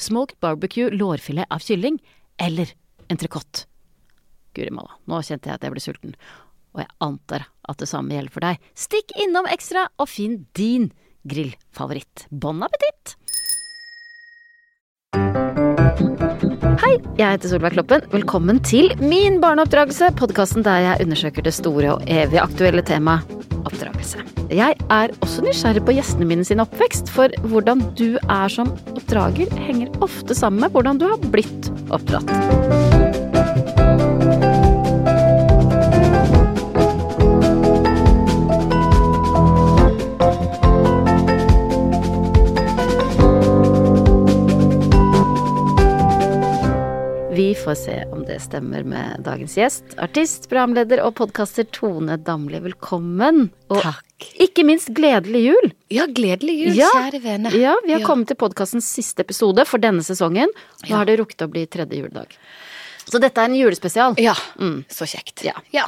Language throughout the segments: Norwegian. smoked barbecue lårfilet av kylling, eller entrecôte. Guri malla, nå kjente jeg at jeg ble sulten. Og jeg antar at det samme gjelder for deg. Stikk innom Ekstra og finn din grillfavoritt. Bon appétit! Hei, jeg heter Solveig Kloppen. Velkommen til Min barneoppdragelse, podkasten der jeg undersøker det store og evig aktuelle temaet oppdragelse. Jeg er også nysgjerrig på gjestene mine sin oppvekst, for hvordan du er som oppdrager, henger ofte sammen med hvordan du har blitt oppdratt. Vi får se om det stemmer med dagens gjest, artist, programleder og podkaster Tone Damli. Velkommen. Og Takk. ikke minst gledelig jul! Ja, gledelig jul, Ja. kjære vene. Ja, Vi har Ja. kommet til podkastens siste episode for denne sesongen. Nå Ja. har det rukket å bli tredje juledag. Så dette er en julespesial. Ja, Mm. så kjekt. Ja. ja.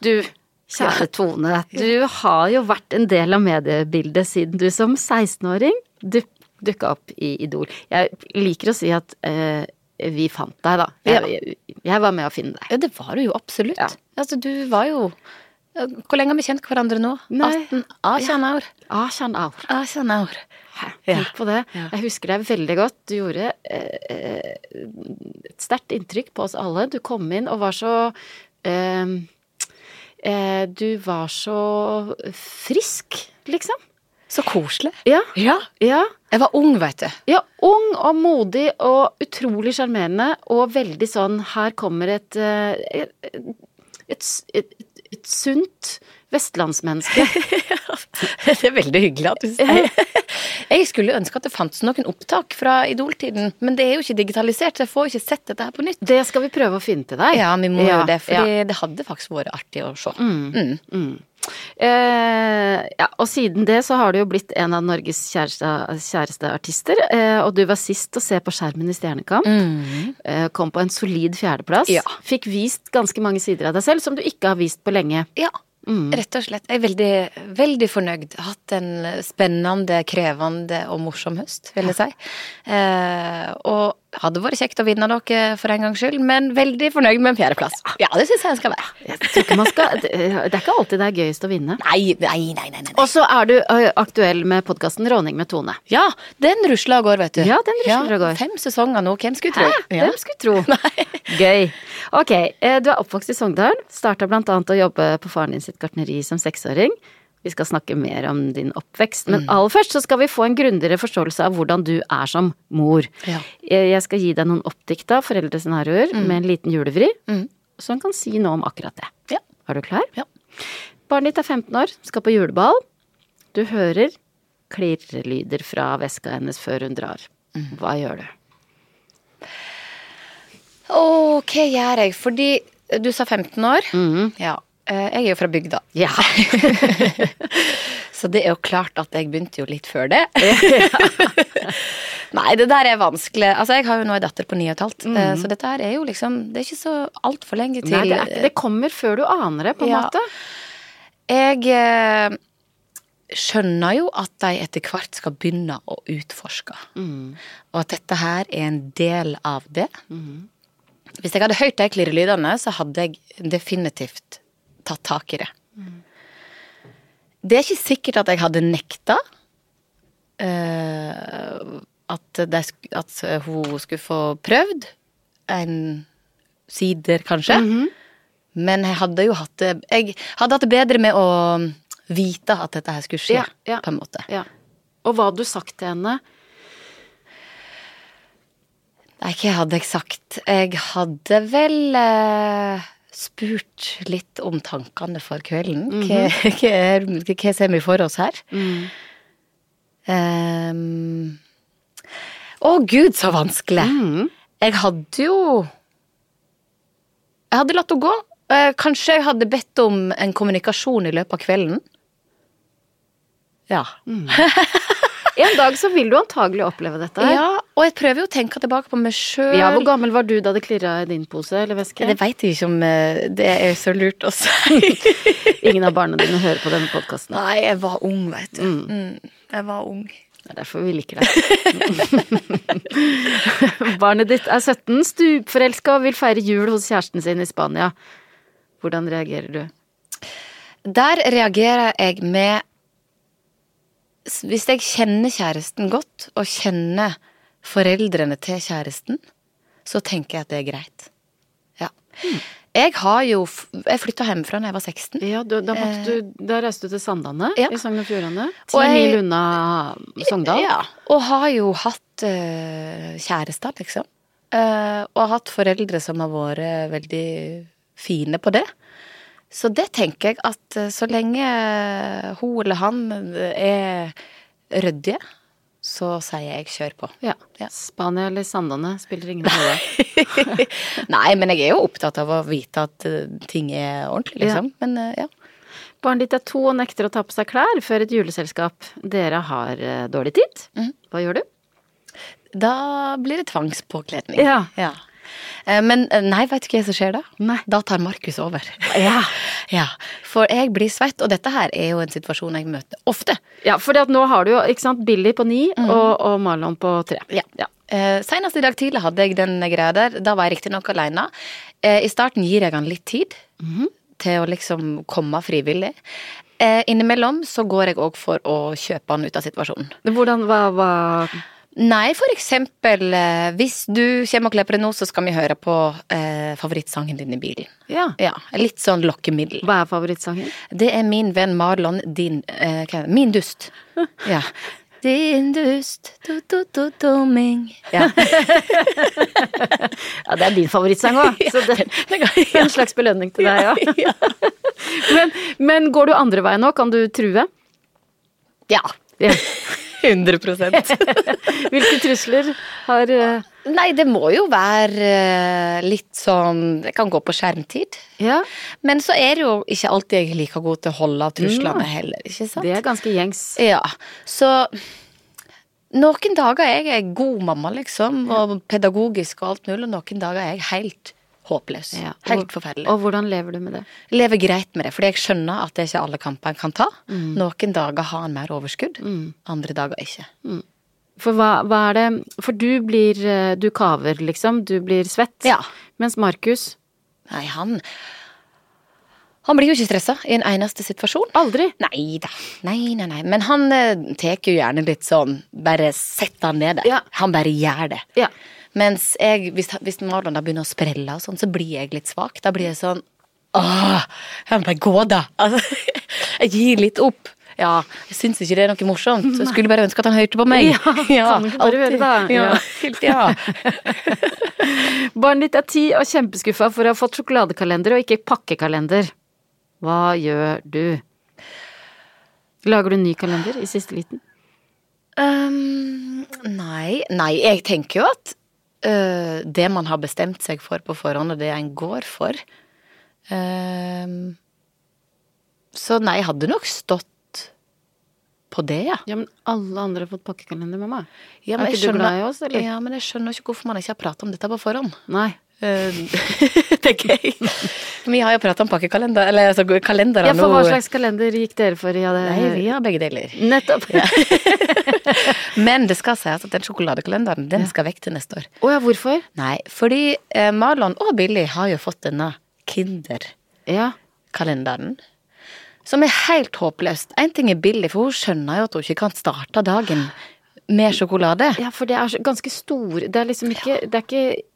Du, kjære Tone. Du har jo vært en del av mediebildet siden du som 16-åring du- dukka opp i Idol. Jeg liker å si at eh, vi fant deg, da. Ja. Jeg, jeg var med å finne deg. Ja, det var du jo absolutt. Ja. Altså, du var jo Hvor lenge har vi kjent hverandre nå? Nei. 18 18 år. Ah, kjenn av. 18 år. Hæ, Ja. Tenk på det. Ja. Jeg husker deg veldig godt. Du gjorde eh, eh, et sterkt inntrykk på oss alle. Du kom inn og var så eh, eh, Du var så frisk, liksom. Så koselig. Ja. Ja. Ja. Jeg var ung, vet du. ja ung og modig og utrolig sjarmerende og veldig sånn Her kommer et eh, et, et, et, et sunt vestlandsmenneske. Det er veldig hyggelig at du sier det. Jeg skulle ønske at det fantes noen opptak fra Idol-tiden, men det er jo ikke digitalisert, så jeg får ikke sett dette her på nytt. Det skal vi prøve å finne til deg. Ja, vi må Ja, jo det, for ja. det hadde faktisk vært artig å se. Mm. Mm. Eh, ja, og siden det så har du jo blitt en av Norges kjæreste, kjæreste artister, eh, og du var sist å se på skjermen i Stjernekamp. Eh, kom på en solid fjerdeplass. Ja. Fikk vist ganske mange sider av deg selv som du ikke har vist på lenge. Ja, Mm. rett og slett. Jeg er veldig, veldig fornøyd. Hatt en spennende, krevende og morsom høst, vil jeg si. Eh, og hadde vært kjekt å vinne dere for en gangs skyld, men veldig fornøyd med en fjerdeplass. Ja, det syns jeg en skal være. Jeg tror ikke man skal, det det er ikke alltid det er gøyest å vinne. Nei, nei, nei, nei. nei. Og så er du eh, aktuell med podkasten Råning med Tone. Ja, den rusla og går, vet du. Ja, den rusler og går. Fem sesonger nå, hvem skulle tro? Hæ? Hvem skulle tro? Gøy. Ok, eh, du er oppvokst i Sogndal. Starta blant annet å jobbe på faren din sitt gartneri som seksåring. Vi skal snakke mer om din oppvekst, men aller først så skal vi få en grundigere forståelse av hvordan du er som mor. Ja. Eh, Jeg skal gi deg noen oppdikta foreldrescenarioer med en liten julevri, som kan si noe om akkurat det. Ja. Er du klar? Ja. Barnet ditt er 15 år, skal på juleball. Du hører klirrelyder fra veska hennes før hun drar. Mm. Hva gjør du? Åh, hva gjør jeg? Fordi eh, du sa 15 år. Mm. Ja. eh, Jeg er jo fra bygda. Ja. Så det er jo klart at jeg begynte jo litt før det. Nei, det der er vanskelig. Altså, jeg har jo nå en datter på ni og et halvt, eh, så dette her er jo liksom Det er ikke så altfor lenge til Mm. Nei, det, er, ikke- det kommer før du aner det, på en Ja. måte. Jeg eh, skjønner jo at de etter hvert skal begynne å utforske. Mm. Og at dette her er en del av det. Hvis jeg hadde hørt de klirrelydene, så hadde jeg definitivt tatt tak i det. Det er ikke sikkert at jeg hadde nekta eh, at, de, sk- at hun skulle få prøvd en sider, kanskje. Mhm. Men jeg hadde jo hatt det Jeg hadde hatt det bedre med å vite at dette her skulle skje, Ja, ja. på en måte. Ja. Og hva hadde du sagt til henne? Nei, hva hadde jeg sagt? Jeg hadde vel eh, spurt litt om tankene for kvelden. Hva- Mhm. hva, er, hva ser vi for oss her? Mm. Ehm, å gud, så vanskelig! Mm. Jeg hadde jo Jeg hadde latt henne gå. Eh, kanskje jeg hadde bedt om en kommunikasjon i løpet av kvelden. Ja. En dag så vil du antagelig oppleve dette. her. ja. Og jeg prøver jo å tenke tilbake på meg sjøl. Ja, Hvor gammel var du da det klirra i din pose eller veske? Det veit jeg ikke om eh, det er så lurt å si. Ingen av barna dine hører på denne podkasten. Nei, jeg var ung, veit du. Mm. Jeg var ung. Det er derfor vi liker deg. Barnet ditt er 17, stupforelska og vil feire jul hos kjæresten sin i Spania. Hvordan reagerer du? Der reagerer jeg med s- Hvis jeg kjenner kjæresten godt, og kjenner foreldrene til kjæresten, så tenker jeg at det er greit. Ja. Jeg har jo f- Jeg flytta hjemmefra da jeg var 16. Ja, du, da, måtte du, da reiste du til Sandane Ja. i Sogn Eh. og Fjordane. Ti Og jeg- mil unna Sogndal. Ja, og har jo hatt eh, kjærester, liksom. Eh, og har hatt foreldre som har vært veldig fine på det. Så det tenker jeg at eh, så lenge hun eller han eh, er ryddige, så sier jeg kjør på. Ja. Ja. Spania eller Sandane spiller ingen rolle. Nei, men jeg er jo opptatt av å vite at eh, ting er ordentlig, liksom. Men eh, ja. Barnet ditt er to og nekter å ta på seg klær før et juleselskap. Dere har eh, dårlig tid. Hva gjør du? Da blir det tvangspåkledning. Ja. Eh, Men eh, nei, veit du hva som skjer da? Nei. Da tar Markus over. Ja. ja. For jeg blir svett, og dette her er jo en situasjon jeg møter ofte. Ja, for nå har du jo ikke sant, Billy på ni og, og Marlon på tre. Ja. Eh, senest i dag tidlig hadde jeg den greia der. Da var jeg riktignok aleine. Eh, I starten gir jeg han litt tid Mhm. til å liksom komme frivillig. Eh, innimellom så går jeg òg for å kjøpe han ut av situasjonen. Hvordan, hva, hva Nei, for eksempel eh, hvis du kommer og kler på deg nå, så skal vi høre på eh, favorittsangen din i bilen. Ja. Ja, litt sånn lokkemiddel. Hva er favorittsangen? Det er min venn Marlon, din eh, hva er det? Min dust. Ja. Din dust, do-do-do-doming. Ja. Ja, det er din favorittsang òg, så det er en slags belønning til deg òg. ja. Men, men går du andre veien nå? Kan du true? ja. Ja. 100 Hvilke trusler har eh, Nei, det må jo være eh, litt sånn Det kan gå på skjermtid. Ja, Men så er det jo ikke alltid jeg er like god til å holde av truslene heller, ikke sant? Mm. det er ganske gjengs. Ja, så noen dager er jeg god mamma, liksom, og pedagogisk og alt mulig, og noen dager er jeg helt håpløs. Ja, og- Helt forferdelig. Og hvordan lever du med det? Lever greit med det, fordi jeg skjønner at det er ikke alle kamper en kan ta. Mm. Noen dager har en mer overskudd, andre dager ikke. For hva, hva er det For du blir eh, Du kaver, liksom. Du blir svett. Ja. Mens Markus Nei, han Han blir jo ikke stressa i en eneste situasjon. aldri. Nei da. Nei, nei, nei. Men han eh, tar jo gjerne litt sånn Bare sett han ned der. Ja. Han bare gjør det. Ja. Mens jeg, hvis, hvis Marlon da begynner å sprelle og sånn, så blir jeg litt svak. Da blir jeg sånn Åh! Jeg må bare gå, da! Altså, jeg gir litt opp. Ja, jeg syns ikke det er noe morsomt. Jeg skulle bare ønske at han hørte på meg. Ja, kan du ikke bare gjøre det, da? Ja. Ja, helt, ja. Barnet ditt er ti og kjempeskuffa for å ha fått sjokoladekalender og ikke pakkekalender. Hva gjør du? Lager du en ny kalender i siste liten? Ehm, nei, nei, jeg tenker jo at øh, det man har bestemt seg for på forhånd, og det en går for ehm, Så nei, jeg hadde nok stått på det, ja. Ja, men alle andre har fått pakkekalender, mamma. ja Er ikke du glad i oss, eller? Ja, men jeg skjønner ikke hvorfor man ikke har prata om dette på forhånd. Nei. Eh, tenker jeg. Vi har jo prata om pakkekalender, eller altså kalendere Ja, for hva slags kalender gikk dere for i ja, det? Nei, vi har begge deler. Nettopp. Å ja. Men det skal sies at den sjokoladekalenderen, den skal vekk til neste år. hvorfor? Nei, fordi eh, Marlon og Billy har jo fått denne Kinder-kalenderen. Ja. Som er helt håpløst. Én ting er Billy, for hun skjønner jo at hun ikke kan starte dagen med sjokolade. ja, for det er så- ganske stor Det er liksom ikke Det er ikke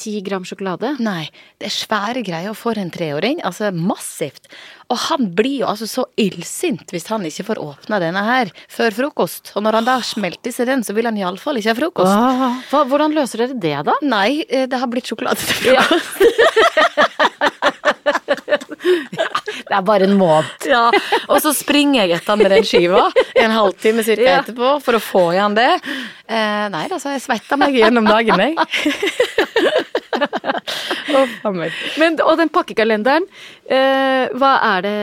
ti gram sjokolade. Nei, det er svære greier for en treåring. Altså massivt. Og han blir jo altså så illsint hvis han ikke får åpna denne her før frokost. Og når han da har smelt i seg den, så vil han iallfall ikke ha frokost. Ah. Hva, hvordan løser dere det, da? Nei, eh, det har blitt sjokolade til frokost. Det er bare en måned. Ja. Og så springer jeg etter han med den skiva en halvtime cirka Ja. etterpå for å få igjen det. Eh, nei da, så jeg svetta meg gjennom dagen, jeg. Å, faen meg. Men, og den pakkekalenderen, eh, hva er det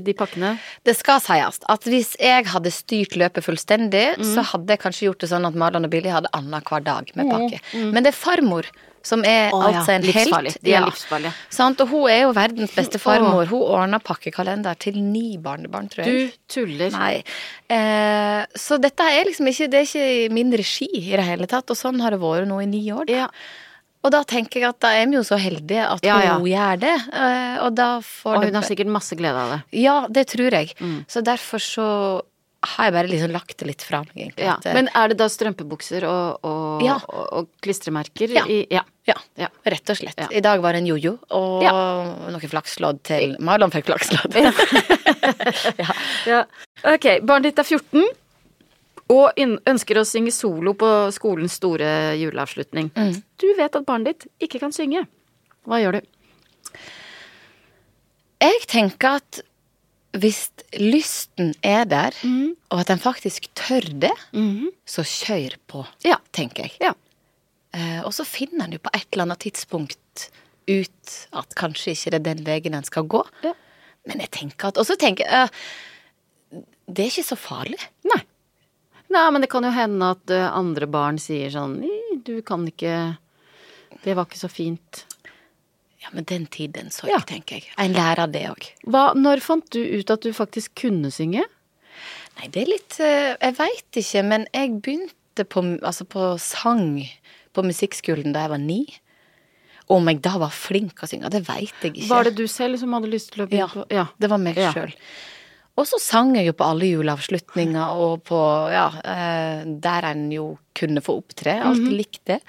i de pakkene? Det skal sies at hvis jeg hadde styrt løpet fullstendig, Mm. så hadde jeg kanskje gjort det sånn at Marlon og Billy hadde annenhver dag med pakke. Men det er farmor som er Mm. Å, ja. altså en Livsfarlig. helt. De er livsfarlige. Sant? Og hun er jo verdens beste farmor. Hun ordna pakkekalender til ni barnebarn, tror jeg. Du tuller. Nei. Eh, så dette er liksom ikke Det er ikke i min regi i det hele tatt, og sånn har det vært nå i ni år. da. Ja. Og da tenker jeg at da er vi jo så heldige at Ja, ja. hun gjør det. eh, Og da får Og det hun har sikkert masse glede av det. ja, det tror jeg. Mm. Så derfor så har jeg bare liksom lagt det litt fra meg, egentlig. Ja. At, eh, Men er det da strømpebukser og, og, Ja. og, og klistremerker? Ja. I, ja. ja, ja. rett og slett. Ja. I dag var det en jojo og noen flakslodd til Marlon fikk flakslodd. Ja. Ok, barnet ditt er 14 og inn- ønsker å synge solo på skolens store juleavslutning. Mm. Du vet at barnet ditt ikke kan synge. Hva gjør du? Jeg tenker at hvis lysten er der, Mm. og at en faktisk tør det, Mhm. så kjør på, Ja. tenker jeg. Ja. Eh, og så finner en jo på et eller annet tidspunkt ut at kanskje ikke det er den veien en skal gå. Ja. Men jeg tenker at Og så tenker jeg eh, Det er ikke så farlig. Nei. Nei, men det kan jo hende at ø, andre barn sier sånn «Nei, Du kan ikke Det var ikke så fint. Ja, men den tiden så Ja. jeg, tenker jeg. En lærer av det òg. Hva, når fant du ut at du faktisk kunne synge? Nei, det er litt eh, Jeg veit ikke, men jeg begynte på, altså på sang på musikkskolen da jeg var ni. Om jeg da var flink å synge, det veit jeg ikke. Var det du selv som hadde lyst til å Ja, begynne på Ja. det var meg Ja. sjøl. Og så sang jeg jo på alle juleavslutninger og på ja, eh, der en jo kunne få opptre. Jeg har Alltid likt det.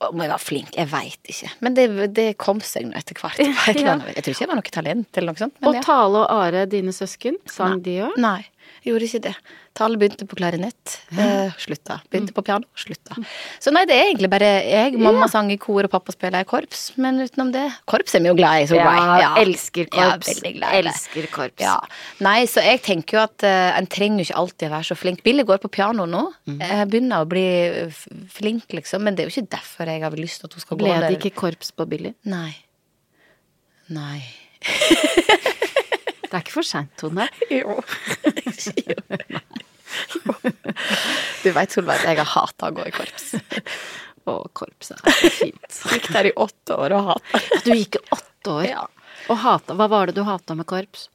Om jeg var flink, jeg veit ikke. Men det, det kom seg nå etter hvert. på et eller annet vis. Jeg tror ikke jeg var noe talent eller noe sånt. Men Og ja. Tale og Are, dine søsken, sang de òg? Nei, jeg gjorde ikke det. Tale begynte på klarinett, eh, slutta. Begynte Mm. på piano, slutta. Så nei, det er egentlig bare jeg. Mamma sang i kor, og pappa spiller i korps. Men utenom det Korps er vi jo glad i, så glad i. Ja, elsker korps. Ja, veldig glad i det. Elsker korps. Ja. Nei, så jeg tenker jo at eh, en trenger jo ikke alltid å være så flink. Billy går på piano nå. Mm. Jeg begynner å bli eh, f- flink, liksom. Men det er jo ikke derfor jeg har lyst til at hun skal Ble gå det der. ikke korps på Billy? Nei. Nei. Det er ikke for seint, Tone. Jo. Du veit, Solveig, at jeg har hata å gå i korps. Å, korps er så fint. Gikk der i åtte år og hata. Du gikk i åtte år Ja. og hata Hva var det du hata med korps?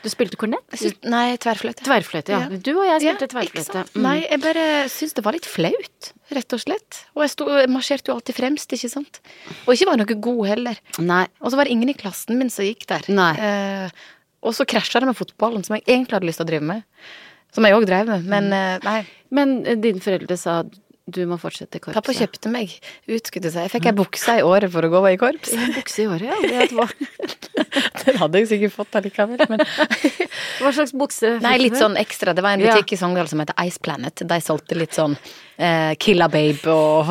Du spilte kornett? Nei, tverrfløyte. Tverrfløyte, ja. Ja. Du og jeg Ja, spilte ikke tverrfløyte. sant? Mm. Nei, jeg bare syns det var litt flaut, rett og slett. Og jeg, sto, jeg marsjerte jo alltid fremst, ikke sant. Og ikke var noe god heller. Nei. Og så var det ingen i klassen min som gikk der. Nei. Eh, og så krasja det med fotballen, som jeg egentlig hadde lyst til å drive med. Som jeg òg drev med, men eh, nei. Men eh, dine foreldre sa du må fortsette i korpset. Pappa kjøpte meg ut, skulle jeg si. Jeg fikk ei bukse i året for å gå i korps. En bukse i året, ja. Det er et valg. Den hadde jeg sikkert fått allikevel, men Hva slags bukse? fikk Nei, litt du? sånn ekstra. Det var en Ja. butikk i Sogndal som heter Ice Planet. De solgte litt sånn eh, Killa Babe og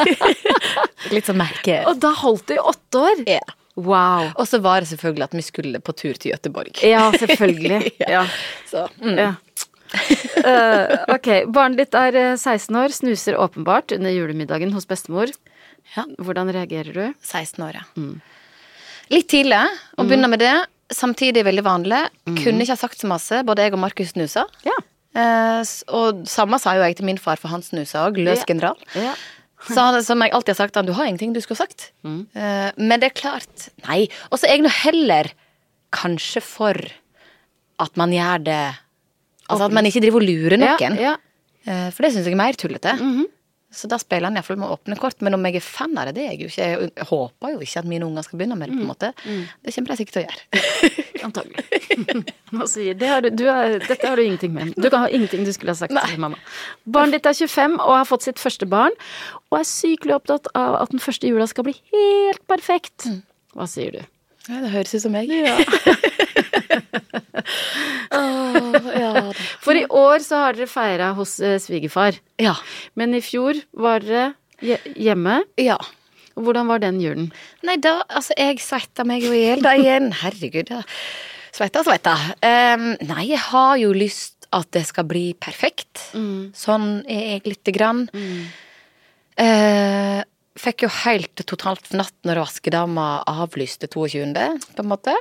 Litt sånn merke. Og da holdt det i åtte år? Ja. Wow. Og så var det selvfølgelig at vi skulle på tur til Gøteborg. Ja, selvfølgelig. Ja. Ja. Så, mm. Ja. Eh, ok, Barnet ditt er eh, 16 år, snuser åpenbart under julemiddagen hos bestemor. Ja. Hvordan reagerer du? 16 år, ja. Litt tidlig å begynne med det. Samtidig veldig vanlig. Kunne ikke ha sagt så masse. Både jeg og Markus snusa. Ja. Eh, s- og samme sa jo jeg til min far, for han snusa òg. Løs Ja. general. Ja. Så han, som jeg alltid har sagt, han, du har ingenting du skulle ha sagt. Mm. Eh, men det er klart, nei. Og så er jeg nå heller kanskje for at man gjør det Altså at man ikke driver og lurer noen. Ja, Mhm. ja. Eh, for det syns jeg er mer tullete. Så da spiller han iallfall med åpne kort. Men om jeg er fan av det, det er jeg jo ikke. Jeg håper jo ikke at mine unger skal begynne med det, på en Mm. måte. Det kommer de sikkert til å gjøre. Antagelig. Man sier, det har du, du er, dette har du ingenting med. Du kan ha ingenting du skulle ha sagt til mamma. Barnet ditt er 25 og har fått sitt første barn, og er sykelig opptatt av at den første jula skal bli helt perfekt. Hva sier du? Ja, det høres ut som meg. Mm. Ja. Åh, ja. For i år så har dere feira hos eh, svigerfar, ja. men i fjor var dere hje- hjemme. Ja. Og Hvordan var den julen? Nei, da Altså, jeg sveita meg jo i hjel da igjen. Herregud. ja. Sveita, sveita. Ehm, nei, jeg har jo lyst at det skal bli perfekt. Sånn er jeg lite grann. Eh, fikk jo helt totalt fnatt når vaskedama avlyste 22., på en måte.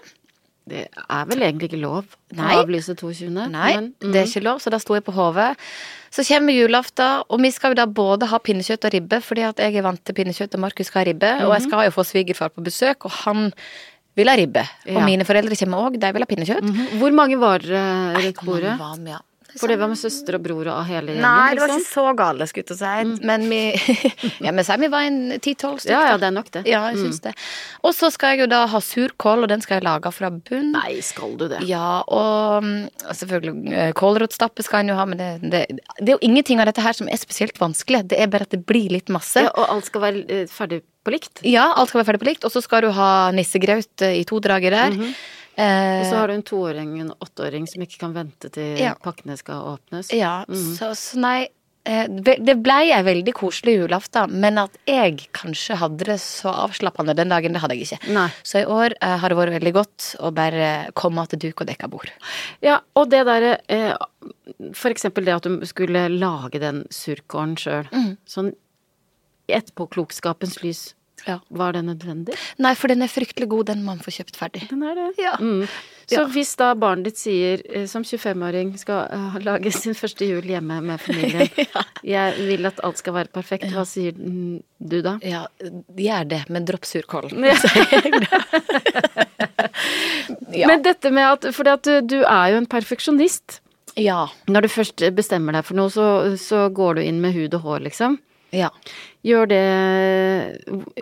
Det er vel egentlig ikke lov Nei. å avlyse 22. Nei, men, mm. det er ikke lov, så da sto jeg på hodet. Så kommer julaften, og vi skal jo da både ha pinnekjøtt og ribbe, fordi at jeg er vant til pinnekjøtt, og Markus skal ha ribbe. Og jeg skal jo få svigerfar på besøk, og han vil ha ribbe. Og Ja. mine foreldre kommer òg, de vil ha pinnekjøtt. Mhm. Hvor mange var dere rundt Hvor mange bordet? var vi, ja? For det var med søster og bror og hele gjengen? Nei, det var liksom? ikke så gale, skulle jeg til å si. Men vi Mm. Ja, men si vi var en ti-tolv stykker. Ja, ja, det er nok det. Mm. Ja, Mm. jeg syns det. Og så skal jeg jo da ha surkål, og den skal jeg lage fra bunn. Nei, skal du det? Ja, og mm, selvfølgelig eh, kålrotstappe skal en jo ha, men det, det, det er jo ingenting av dette her som er spesielt vanskelig. Det er bare at det blir litt masse. Ja, Ja, og alt skal være eh, ferdig på likt? alt skal være ferdig på likt, og så skal du ha nissegraut eh, i to drager der. Mhm. Og Eh, så har du en toåring og en åtteåring som ikke kan vente til Ja. pakkene skal åpnes. Ja, Mhm. så, så nei eh, ve- Det blei ei veldig koselig julaften, men at jeg kanskje hadde det så avslappende den dagen, det hadde jeg ikke. Nei. Så i år eh, har det vært veldig godt å bare komme til duk og dekka bord. Ja, og det derre eh, For eksempel det at du skulle lage den surkålen sjøl. Mm. Sånn i etterpåklokskapens lys, Ja. var det nødvendig? Nei, for den er fryktelig god, den man får kjøpt ferdig. Den er det. Ja. Mm. Så Ja. hvis da barnet ditt sier, eh, som 25-åring, skal eh, lage sin første jul hjemme med familien Jeg vil at alt skal være perfekt, hva sier mm, du da? Ja, gjør det, men dropp surkålen. Ja. Ja. Men dette med at For at du, du er jo en perfeksjonist. Ja. Når du først bestemmer deg for noe, så, så går du inn med hud og hår, liksom. ja. Gjør det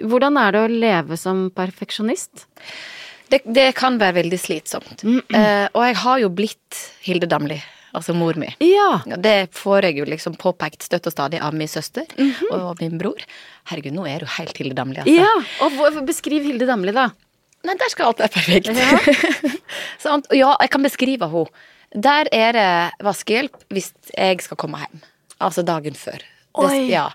Hvordan er det å leve som perfeksjonist? Det, det kan være veldig slitsomt. Eh, og jeg har jo blitt Hilde Damli, altså mor mi. Ja. Ja, det får jeg jo liksom påpekt støtt og stadig av min søster og min bror. Herregud, nå er du helt Hilde Damli, altså. Mhm. ja. Og hvor- beskriv Hilde Damli, da. Nei, der skal alt være perfekt. Sant? Og ja, jeg kan beskrive henne. Der er det vaskehjelp hvis jeg skal komme hjem. Altså dagen før. Det- Oi. ja.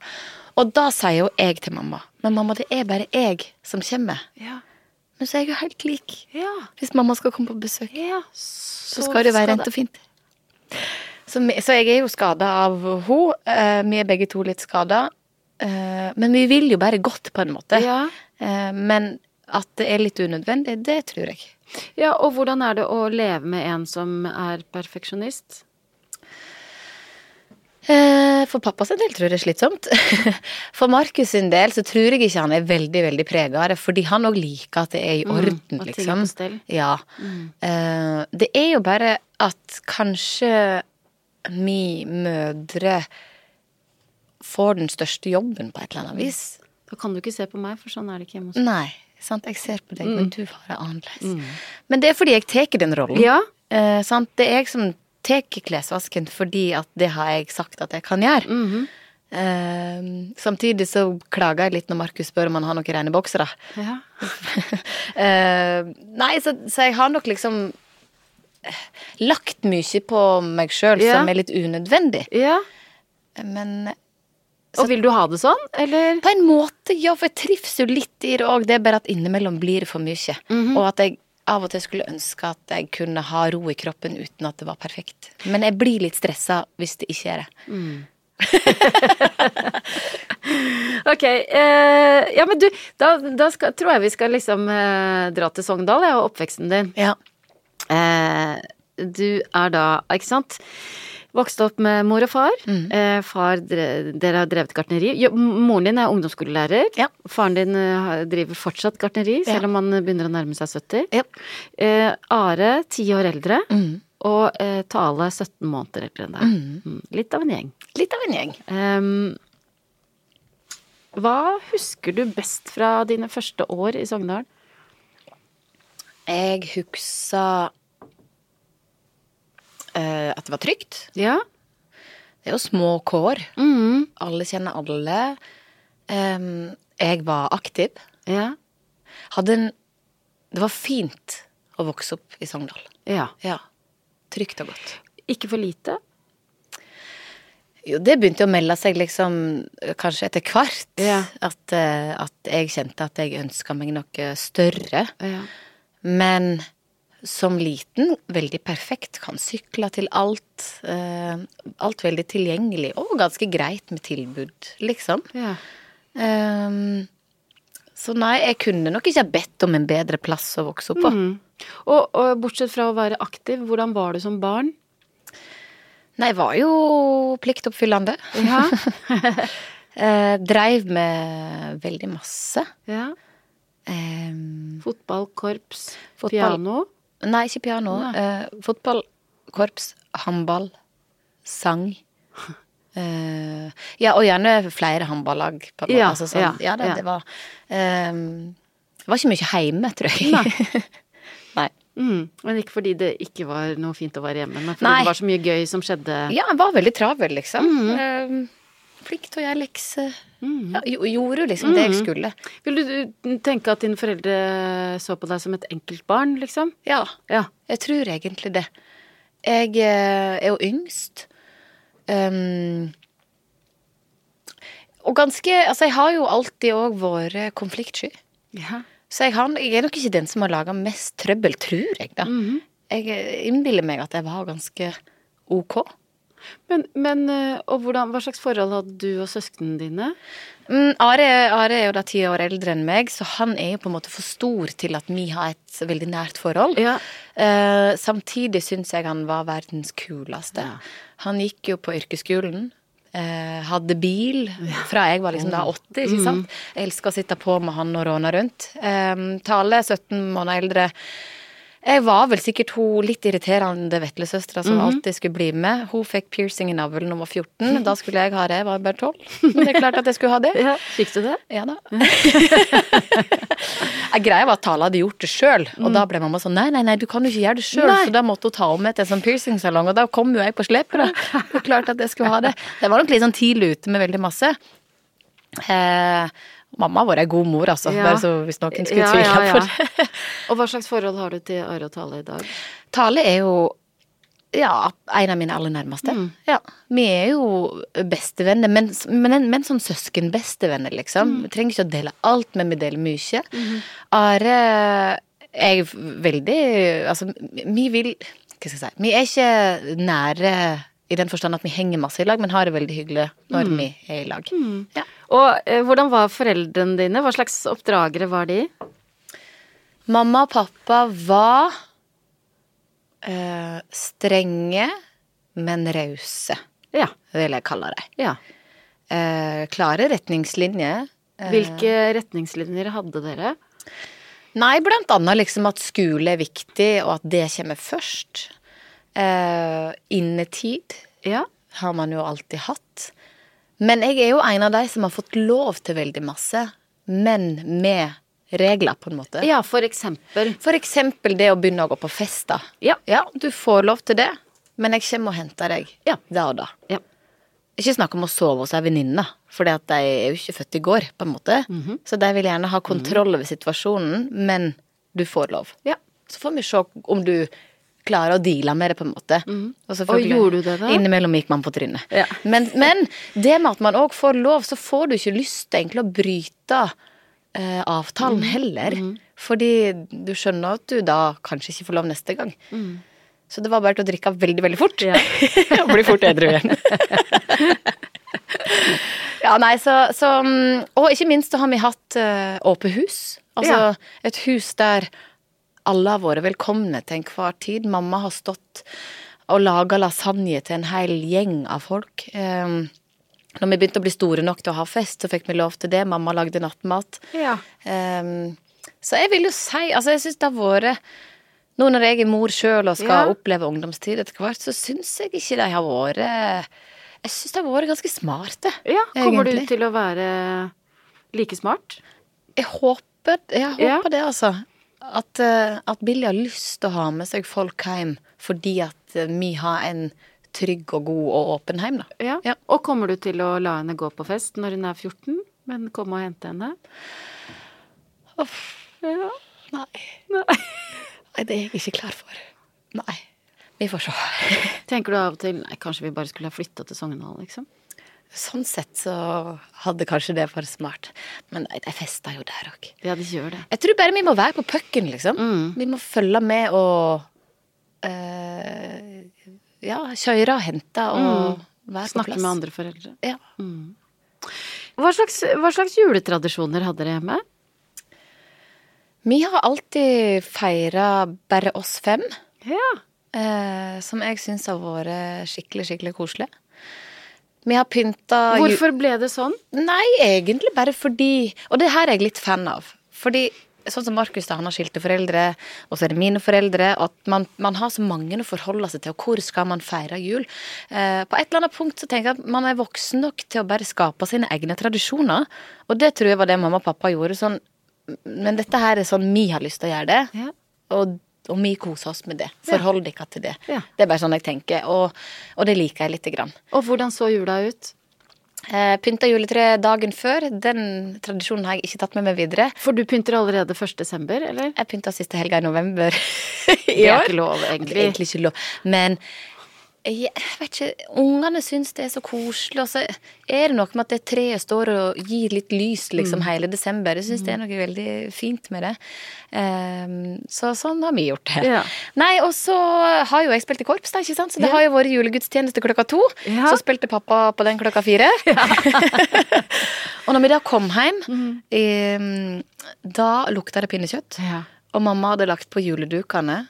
Og da sier jo jeg til mamma Men mamma, det er bare jeg som kommer. Ja. Men så er jeg jo helt lik. Ja. Hvis mamma skal komme på besøk. Så, Så skal det jo være rent og fint. Så, me- så jeg er jo skada av henne. Eh, vi er begge to litt skada. Eh, men vi vil jo bare godt, på en måte. Ja. Eh, men at det er litt unødvendig, det tror jeg. Ja, og hvordan er det å leve med en som er perfeksjonist? Eh, For pappa sin del tror jeg det er slitsomt. For Markus sin del så tror jeg ikke han er veldig veldig prega av det, fordi han òg liker at det er i orden, Mm, at ting er liksom. på stell. Mm. Ja. Eh, Det er jo bare at kanskje vi mødre får den største jobben på et eller annet vis. Da kan du ikke se på meg, for sånn er det ikke hjemme hos Nei, sant? jeg ser på deg, men du har det annerledes. Men det er fordi jeg tar den rollen. Mm. Ja. Eh, sant? Det er jeg som tar klesvasken fordi at det har jeg sagt at jeg kan gjøre. mhm. Eh, samtidig så klager jeg litt når Markus spør om han har noen rene boksere. Ja. Eh, nei, så, så jeg har nok liksom eh, lagt mye på meg sjøl Ja. som er litt unødvendig. ja. Men Og vil du ha det sånn, eller? Mhm. På en måte, ja, for jeg trives jo litt i det òg. Det er bare at innimellom blir det for mye. Og at jeg av og til skulle ønske at jeg kunne ha ro i kroppen uten at det var perfekt. Men jeg blir litt stressa hvis det ikke er det. Ok, eh, ja men du, da, da skal, tror jeg vi skal liksom eh, dra til Sogndal ja, og oppveksten din. Ja. Eh, du er da, ikke sant, vokst opp med mor og far. Eh, far dre, dere har drevet gartneri. Jo, m- moren din er ungdomsskolelærer. Ja. Faren din eh, har- driver fortsatt gartneri, selv Ja. om han begynner å nærme seg 70. Ja. Eh, Are, ti år eldre. Mm. Og eh, Tale, 17 måneder eldre enn deg. Mm. Litt av en gjeng. Litt av en gjeng. Ehm, hva husker du best fra dine første år i Sogndal? Jeg husker eh, at det var trygt. Ja. Det er jo små kår. Mm, Alle kjenner alle. Em, jeg var aktiv. ja. Hadde en Det var fint å vokse opp i Sogndal. ja. Ja. Trygt og godt. Ikke for lite? Jo, det begynte å melde seg liksom kanskje etter hvert. Ja. At, eh, at jeg kjente at jeg ønska meg noe større. Ja. Men som liten, veldig perfekt. Kan sykle til alt. eh, alt veldig tilgjengelig. Og ganske greit med tilbud, liksom. ja. Ehm, så nei, jeg kunne nok ikke ha bedt om en bedre plass å vokse opp på. Mm. Og, og bortsett fra å være aktiv, hvordan var du som barn? Nei, jeg var jo pliktoppfyllende. Ja. Eh, dreiv med veldig masse. ja. Ehm, Fotball, korps, Fotball. piano. nei, ikke piano. Nei. Eh, fotball, korps, håndball, sang. Eh, ja, og gjerne flere håndballag. på en måte, Ja, altså sånn. ja, ja, det, ja. det var ehm, Det var ikke mye hjemme, tror jeg. Nei. nei. Mm. Men ikke fordi det ikke var noe fint å være hjemme, men fordi Nei. det var så mye gøy som skjedde. Ja, jeg var veldig travel, liksom. Mhm. Eh, flink til å gjøre lekser. Ja, jo- gjorde jo liksom det jeg Mhm. skulle. Vil du du tenke at dine foreldre så på deg som et enkeltbarn, liksom? Ja, Ja. jeg tror egentlig det. Jeg eh, er jo yngst. Um, og ganske Altså, jeg har jo alltid òg vært konfliktsky. ja. Så jeg, har, jeg er nok ikke den som har laga mest trøbbel, tror jeg, da. Mhm. Jeg eh, innbiller meg at jeg var ganske ok. Men, men eh, og hvordan, hva slags forhold hadde du og søsknene dine? Mm, Are, Are er jo da ti år eldre enn meg, så han er jo på en måte for stor til at vi har et veldig nært forhold. Ja. Eh, samtidig syns jeg han var verdens kuleste. Ja. Han gikk jo på yrkesskolen. eh, hadde bil fra jeg var liksom da åtte, ikke sant. Jeg elska å sitte på med han og råne rundt. Eh, Tale, 17 måneder eldre. Jeg var vel sikkert hun litt irriterende veslesøstera som alltid skulle bli med. Hun fikk piercing i navlen da hun var 14. Da skulle jeg ha det, jeg var bare 12. Men det er klart at jeg skulle ha det. Fikk du det? Ja da. Mm. Jeg Greia var at Tale hadde gjort det sjøl, og da ble mamma sånn nei, nei, nei, du kan jo ikke gjøre det sjøl, Mm. Nei. så da måtte hun ta om etter en sånn piercingsalong, og da kom jo jeg på slep, da. Det er klart at jeg skulle ha det. Det var nok litt sånn tidlig ute med veldig masse. Eh, mamma har vært ei god mor, altså, Ja. bare så hvis noen skulle Ja, tvile ja, ja. på det. Og hva slags forhold har du til Are og Tale i dag? Tale er jo ja, en av mine aller nærmeste. Ja. Vi er jo bestevenner, men, men, men som søskenbestevenner, liksom. Vi trenger ikke å dele alt, men vi deler mye. Are er veldig Altså, vi vil Hva skal jeg si Vi er ikke nære i den forstand at vi henger masse i lag, men har det veldig hyggelig når vi er i lag. Ja. Og eh, hvordan var foreldrene dine? Hva slags oppdragere var de? Mamma og pappa var eh, strenge, men rause, Ja. vil jeg kalle dem. ja. Eh, klare retningslinjer. Eh, Hvilke retningslinjer hadde dere? Nei, blant annet liksom at skole er viktig, og at det kommer først. Eh, innetid Ja. har man jo alltid hatt. Men jeg er jo en av de som har fått lov til veldig masse, men med regler, på en måte. ja, for eksempel. For eksempel det å begynne å gå på fest, da. Ja. ja, du får lov til det, men jeg kommer og henter deg Ja. da og da. Ja. Ikke snakk om å sove hos ei venninne, for de er jo ikke født i går, på en måte. Mhm. Så de vil gjerne ha kontroll over situasjonen, men du får lov. Ja. Så får vi se om du klarer å deale med det, på en måte. Og, selvfølgelig- Og Mhm. gjorde du det da? Innimellom gikk man på trynet. Ja. Men, men det med at man òg får lov, så får du ikke lyst til egentlig å bryte eh, avtalen Mhm. heller. Fordi du skjønner at du da kanskje ikke får lov neste gang. Mhm. Så det var bare til å drikke veldig, veldig fort. og bli fort edru igjen. ja, nei, så, så mm, Og ikke minst så har vi hatt eh, åpent hus. Altså Ja. et hus der alle har vært velkomne til enhver tid. Mamma har stått og laga lasagne til en hel gjeng av folk. Um, når vi begynte å bli store nok til å ha fest, så fikk vi lov til det. Mamma lagde nattmat. Ja. Ehm, så jeg vil jo si Altså, jeg syns det har vært Nå når jeg er mor sjøl og skal Ja. oppleve ungdomstid etter hvert, så syns jeg ikke de har vært Jeg syns de har vært ganske smarte. Ja, kommer egentlig. du til å være like smart? Jeg håper, jeg håper Ja. det, altså. At, eh, at Billy har lyst til å ha med seg folk hjem fordi at eh, vi har en trygg og god og åpen hjem, da. Ja. Ja. Og kommer du til å la henne gå på fest når hun er 14, men komme og hente henne? Ja. Nei. Nei. Nei, det er jeg ikke klar for. Nei. Vi får se. Tenker du av og til nei, kanskje vi bare skulle ha flytta til Sogndal, liksom? Sånn sett så hadde kanskje det vært smart. Men nei, de festa jo der òg. Ja, de gjør det. Jeg tror bare vi må være på pucken, liksom. Mm. Vi må følge med og eh, Ja, kjøre og hente og være på Mm. Snakke plass. med andre foreldre. Ja. Hva slags, hva slags juletradisjoner hadde dere hjemme? Vi har alltid feira bare oss fem. Ja. Eh, som jeg syns har vært skikkelig, skikkelig koselig. Vi har pynta ju- Hvorfor ble det sånn? Nei, egentlig bare fordi Og det her er jeg litt fan av. Fordi sånn som Markus, da, han har skilte foreldre, og så er det mine foreldre. At man, man har så mange å forholde seg til, og hvor skal man feire jul? Eh, på et eller annet punkt så tenker jeg at man er voksen nok til å bare skape sine egne tradisjoner. Og det tror jeg var det mamma og pappa gjorde. sånn Men dette her er sånn vi har lyst til å gjøre det. Ja. Og, og vi koser oss med det. Forhold dere til det. Ja. Det er bare sånn jeg tenker, og, og det liker jeg lite grann. Og hvordan så jula ut? Eh, pynta juletre dagen før. Den tradisjonen har jeg ikke tatt med meg videre. For du pynter allerede 1. desember, eller? Jeg pynta siste helga i november i Det er år. ikke lov, egentlig. Det er egentlig ikke lov. Men jeg vet ikke Ungene syns det er så koselig. Og så er det noe med at det treet står og gir litt lys Mm. liksom hele desember. Jeg syns det er noe veldig fint med det. Ehm, så sånn har vi gjort det. Ja. Nei, og så har jo jeg spilt i korps, da, ikke sant? så det har jo vært julegudstjeneste klokka to. Ja. Så spilte pappa på den klokka fire. og når vi da kom hjem, Mm. ehm, da lukta det pinnekjøtt. Ja. Og mamma hadde lagt på juledukene.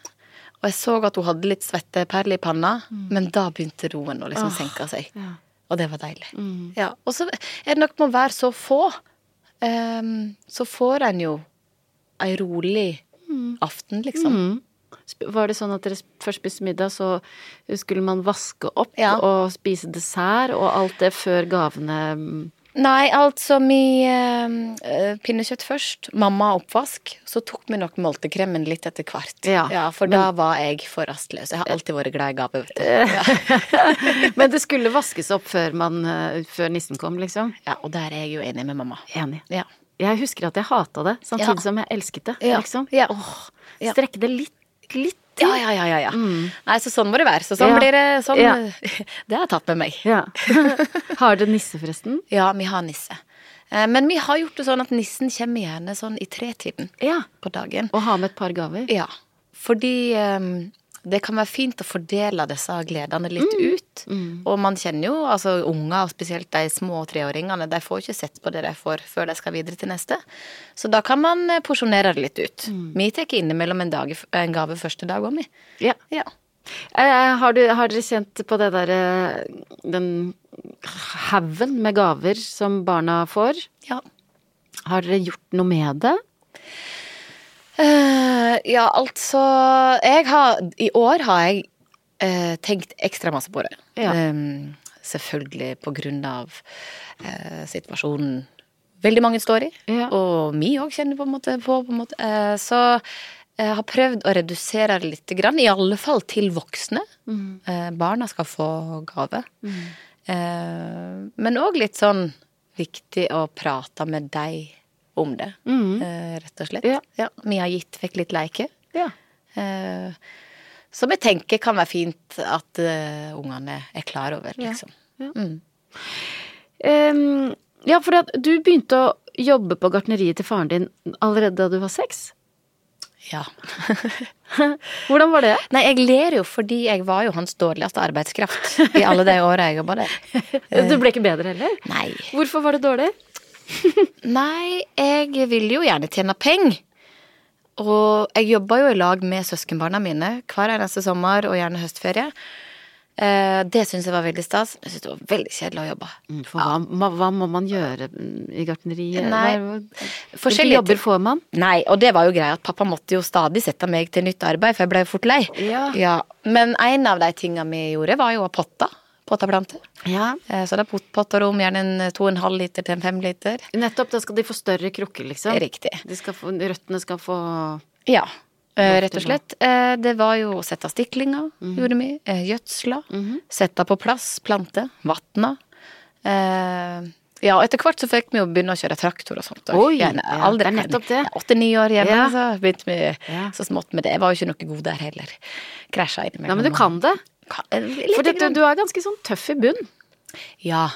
Og jeg så at hun hadde litt svetteperler i panna, men da begynte roen å liksom senke seg. ja. Og det var deilig. Ja, og så er det nok med å være så få, ehm, så får en jo ei rolig aften, Mm. liksom. Sp- Var det sånn at dere sp- først spiste middag, så skulle man vaske opp Ja. og spise dessert og alt det før gavene mm, Nei, altså vi ehm, eh, pinnekjøtt først, mamma oppvask. Så tok vi nok multekremen litt etter hvert. Ja, for da var jeg for rastløs. Jeg har alltid vært glad i gaver, vet du. Men det skulle vaskes opp før, man, eh, før nissen kom, liksom. Ja, og der er jeg jo enig med mamma. Enig. Ja. Jeg husker at jeg hata det, samtidig Ja. som jeg elsket det, Ja. liksom. Ja. Åh, Ja. strekke det litt, litt til. Ja, ja, ja. ja, ja. Nei, så sånn må det være. Så sånn Mm. Ja. blir det sånn. Ja. Det har jeg tatt med meg. Ja. Har dere nisse, forresten? Ja, vi har nisse. Eh, Men vi har gjort det sånn at nissen kommer gjerne sånn i tretiden Ja. på dagen. Og ha med et par gaver? Ja, fordi ehm, det kan være fint å fordele disse gledene litt ut. Og man kjenner jo, altså unger, og spesielt de små treåringene, de får ikke sett på det de får før de skal videre til neste. Så da kan man eh, porsjonere det litt ut. Vi tar innimellom en, dag, en gave første dag òg, vi. Ja. Ja. Eh, har, du, har dere kjent på det derre Den haugen med gaver som barna får? ja. Har dere gjort noe med det? Eh, ja, altså jeg har, I år har jeg eh, tenkt ekstra masse på det. Ja. Em, selvfølgelig på grunn av eh, situasjonen veldig mange står i. Ja. Og vi òg kjenner på en måte på. på en måte. Eh, så jeg har prøvd å redusere det litt, grann, i alle fall til voksne. Mm. Eh, barna skal få gave. Eh, men òg litt sånn viktig å prate med deg om det, eh, rett og slett. Mm. Ja. Vi har gitt vekk litt leker. Ja. eh, som jeg tenker kan være fint at eh, ungene er klar over, liksom. ja, for at du begynte å jobbe på gartneriet til faren din allerede da du var seks? Ja. Hvordan var det? Nei, jeg ler jo fordi jeg var jo hans dårligste arbeidskraft i alle de åra jeg jobba der. Du ble ikke bedre heller? Nei. Hvorfor var det dårlig? Nei, jeg vil jo gjerne tjene penger. Og jeg jobba jo i lag med søskenbarna mine hver eneste sommer og gjerne høstferie. Eh, Det syns jeg var veldig stas. Jeg syns det var veldig kjedelig å jobbe. Mm, For hva, ma- hva må man gjøre mm, i gartneriet? Nei, Hva- Hvilke forskjellige jobber får man? Nei, og det var jo greia at pappa måtte jo stadig sette meg til nytt arbeid, for jeg ble jo fort lei. Ja. Men en av de tinga vi gjorde, var jo å potte. Potteplanter. Ja. Eh, Så det er pot- potterom, gjerne en to og en halv liter til en fem liter. Nettopp, da skal de få større krukker, liksom. Riktig. De skal få, røttene skal få Ja, eh, rett og Optimal. slett. Eh, Det var jo å sette stiklinga, Mhm. gjorde vi. eh, Gjødsla. Sette på plass, plante. Vatna. Eh, Ja, og etter hvert så fikk vi jo begynne å kjøre traktor og sånt. og Oi, gjerne ja, alder- det er nettopp det. Ja, Åtte-ni år hjemme, Ja. så begynte vi Ja. så smått med det. Jeg var jo ikke noe god der heller. Krasja innimellom. Ja, men du kan det. Kan- eh, Litt For du, grann. du er ganske sånn tøff i bunn. Ja.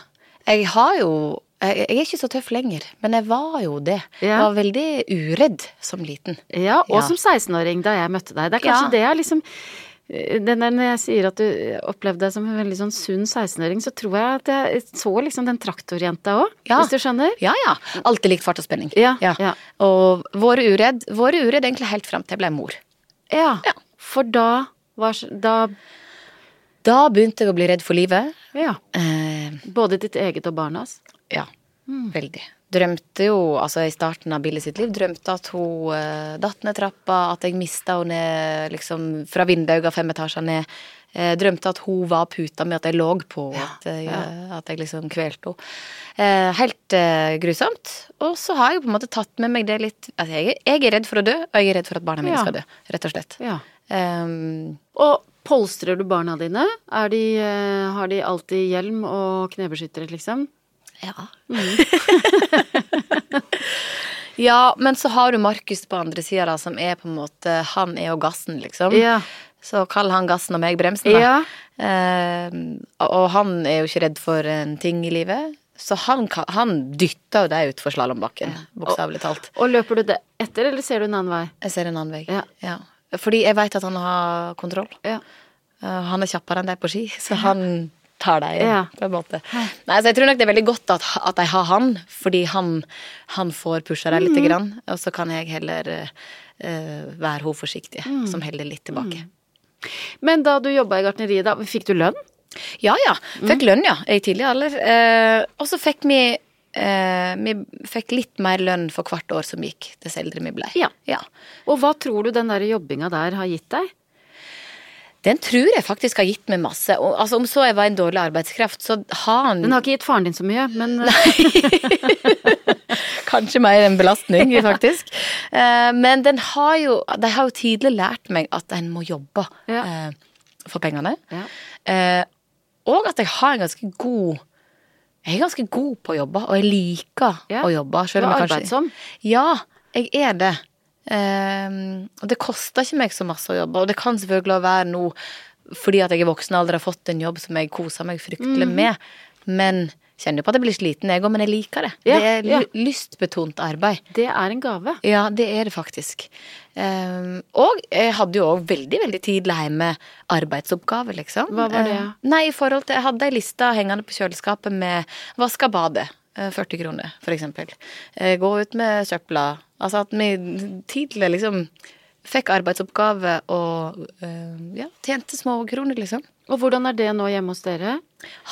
Jeg har jo jeg jeg er ikke så tøff lenger, men jeg var jo det. Ja. Jeg var veldig uredd som liten. Ja, og Ja. som 16-åring da jeg møtte deg. Det er kanskje Ja. det jeg liksom den der Når jeg sier at du opplevde deg som en veldig sånn sunn 16-åring, så tror jeg at jeg så liksom den traktorjenta òg, Ja. hvis du skjønner? Ja, ja. Alltid likt fart og spenning. Ja, ja. Og våre uredd, våre uredd egentlig helt fram til jeg ble mor. Ja. Ja. For da var s- Da Da begynte jeg å bli redd for livet. Ja. Eh, Både ditt eget og barnas. ja, veldig. Drømte jo, altså i starten av Billy sitt liv, drømte at hun eh, datt ned trappa, at jeg mista henne ned, liksom fra vinduet fem etasjer ned. Eh, drømte at hun var puta med at jeg lå på henne, at, jeg, eh, at jeg liksom kvelte henne. Eh, helt eh, grusomt. Og så har jeg jo på en måte tatt med meg det litt altså jeg, jeg er redd for å dø, og jeg er redd for at barna mine Ja. skal dø, rett og slett. Ja. Ehm, Og polstrer du barna dine? Er de, eh, har de alltid hjelm og knebeskyttere, liksom? ja. Mm. ja, men så har du Markus på andre sida, da, som er på en måte Han er jo gassen, liksom. Ja. Så kall han gassen og meg bremsen, da. Ja. Ehm, og- og han er jo ikke redd for en ting i livet. Så han, kan- han dytter jo deg utfor slalåmbakken, bokstavelig talt. Og løper du det etter, eller ser du en annen vei? Jeg ser en annen vei. Ja. Fordi jeg veit at han har kontroll. Ja. Eh, Han er kjappere enn deg på ski, så han tar deg igjen, Ja. på en måte. Nei, så jeg tror nok det er veldig godt at, at jeg har han, fordi han, han får pusha deg Mm. lite grann. Og så kan jeg heller eh, eh, være hun forsiktige, Mm. som heller litt tilbake. Men da du jobba i gartneriet, da, fikk du lønn? Ja ja, fikk Mm. lønn ja, i tidlig alder. Eh, og så fikk vi eh, vi fikk litt mer lønn for hvert år som gikk, dess eldre vi ble. Ja. ja. Og hva tror du den der jobbinga der har gitt deg? Den tror jeg faktisk har gitt meg masse. Og, altså, om så jeg var en dårlig arbeidskraft, så har han Den har ikke gitt faren din så mye, men eh, Kanskje mer en belastning, faktisk. Eh, Men den har jo, de har jo tidlig lært meg at en må jobbe Ja. eh, for pengene. Ja. Eh, Og at jeg har en ganske god Jeg er ganske god på å jobbe, og jeg liker Ja. å jobbe. Du Selv om er jeg kanskje arbeidsom. Ja, jeg er det. Eh, og det koster ikke meg så masse å jobbe, og det kan selvfølgelig være noe fordi at jeg i voksen alder har fått en jobb som jeg koser meg fryktelig Mhm. med, men kjenner jo på at jeg blir sliten jeg òg, men jeg liker det. Ja, det er ja. ly- lystbetont arbeid. det er en gave. Ja, det er det faktisk. Ehm, og jeg hadde jo òg veldig veldig tidlig hjemme arbeidsoppgave, liksom. Hva var det? Eh, nei, i forhold til Jeg hadde ei liste hengende på kjøleskapet med vaska badet. eh, 40 kroner, for eksempel. Eh, Gå ut med søpla. Altså at vi tidlig liksom fikk arbeidsoppgave og eh, ja, tjente små kroner, liksom. Og hvordan er det nå hjemme hos dere?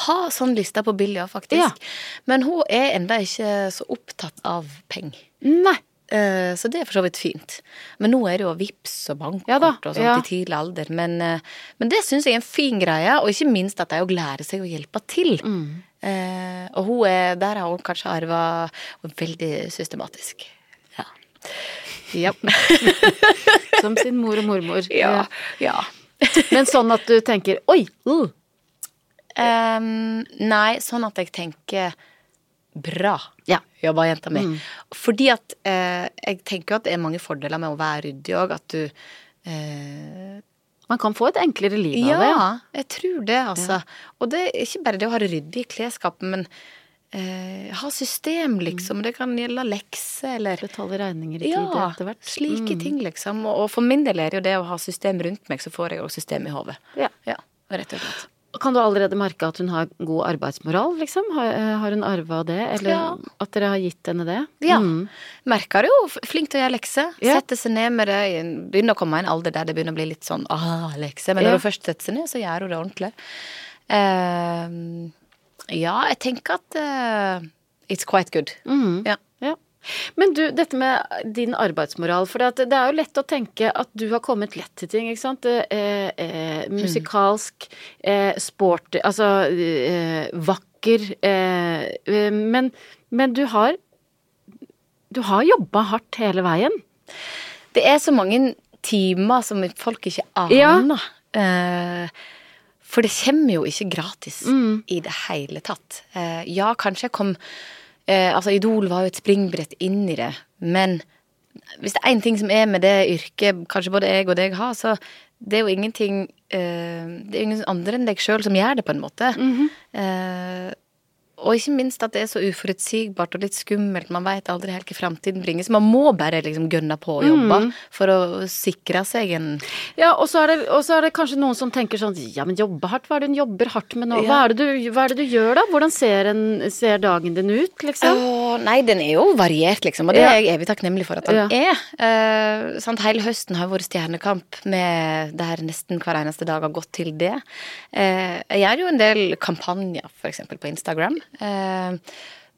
Ha sånn lista på Bilja, faktisk. Ja. Men hun er enda ikke så opptatt av penger. Nei. Eh, Så det er for så vidt fint. Men nå er det jo Vipps og bankkort Ja da, og sånt ja. i tidlig alder. Men, eh, men det syns jeg er en fin greie, og ikke minst at de òg lærer seg å hjelpe til. Mm. Eh, og hun er, der har hun kanskje arva veldig systematisk. Ja. Ja. Som sin mor og mormor. ja. ja. Men sånn at du tenker oi, uh, Ehm, nei, sånn at jeg tenker bra. Ja. Mm. Jobba jenta mi. Fordi at eh, jeg tenker jo at det er mange fordeler med å være ryddig òg. At du eh, man kan få et enklere liv av det. Ja, jeg tror det, altså. Og det er ikke bare det å ha det ryddig i klesskapet, men eh, ha Mm. system, liksom. Det kan gjelde lekser eller Betale regninger i tide ja, etter hvert. Mm. slike ting, liksom. Og, og for min del er det jo det å ha system rundt meg, så får jeg òg system i hodet. Ja. Ja, rett og slett. Kan du allerede merke at hun har god arbeidsmoral, liksom? Har, eh, har hun arva det, eller Ja. at dere har gitt henne det? Ja. Mm. Merker det jo. f- Flink til å gjøre lekser. Ja. Sette seg ned med det. i- Begynner å komme i en alder der det begynner å bli litt sånn ah, lekser. Men Ja. når hun først setter seg ned, så gjør hun det ordentlig. Eh, ja, jeg tenker at eh, it's quite good. Mhm. Ja. Ja. Men du, dette med din arbeidsmoral, for det at det er jo lett å tenke at du har kommet lett til ting, ikke sant? Eh, eh, Mm. musikalsk, eh, sport, altså eh, vakker, eh, eh, men, men du har, du har jobba hardt hele veien. Det er så mange timer som folk ikke aner. Eh, for det kommer jo ikke gratis i det hele tatt. Eh, ja, kanskje jeg kom eh, Altså, Idol var jo et springbrett inn i det, men hvis det er én ting som er med det yrket kanskje både jeg og deg har, så det er jo ingenting eh, Det er jo ingen andre enn deg sjøl som gjør det, på en måte. Eh, og ikke minst at det er så uforutsigbart og litt skummelt. Man veit aldri helt hva framtiden bringer. Så man må bare liksom gønne på og jobbe for å sikre seg en Ja, og så er, det- og så er det kanskje noen som tenker sånn Ja, men jobbe hardt, hva er det hun jobber hardt med nå? Hva, Ja. er det du, hva er det du gjør da? Hvordan ser, en, ser dagen din ut, liksom? Åh, nei, den er jo variert, liksom. Og det Ja. er jeg evig takknemlig for at den Ja. er. Eh, sant? Hele høsten har vært stjernekamp med det her nesten hver eneste dag har gått til det. Eh, jeg gjør jo en del kampanjer, for eksempel på Instagram. eh,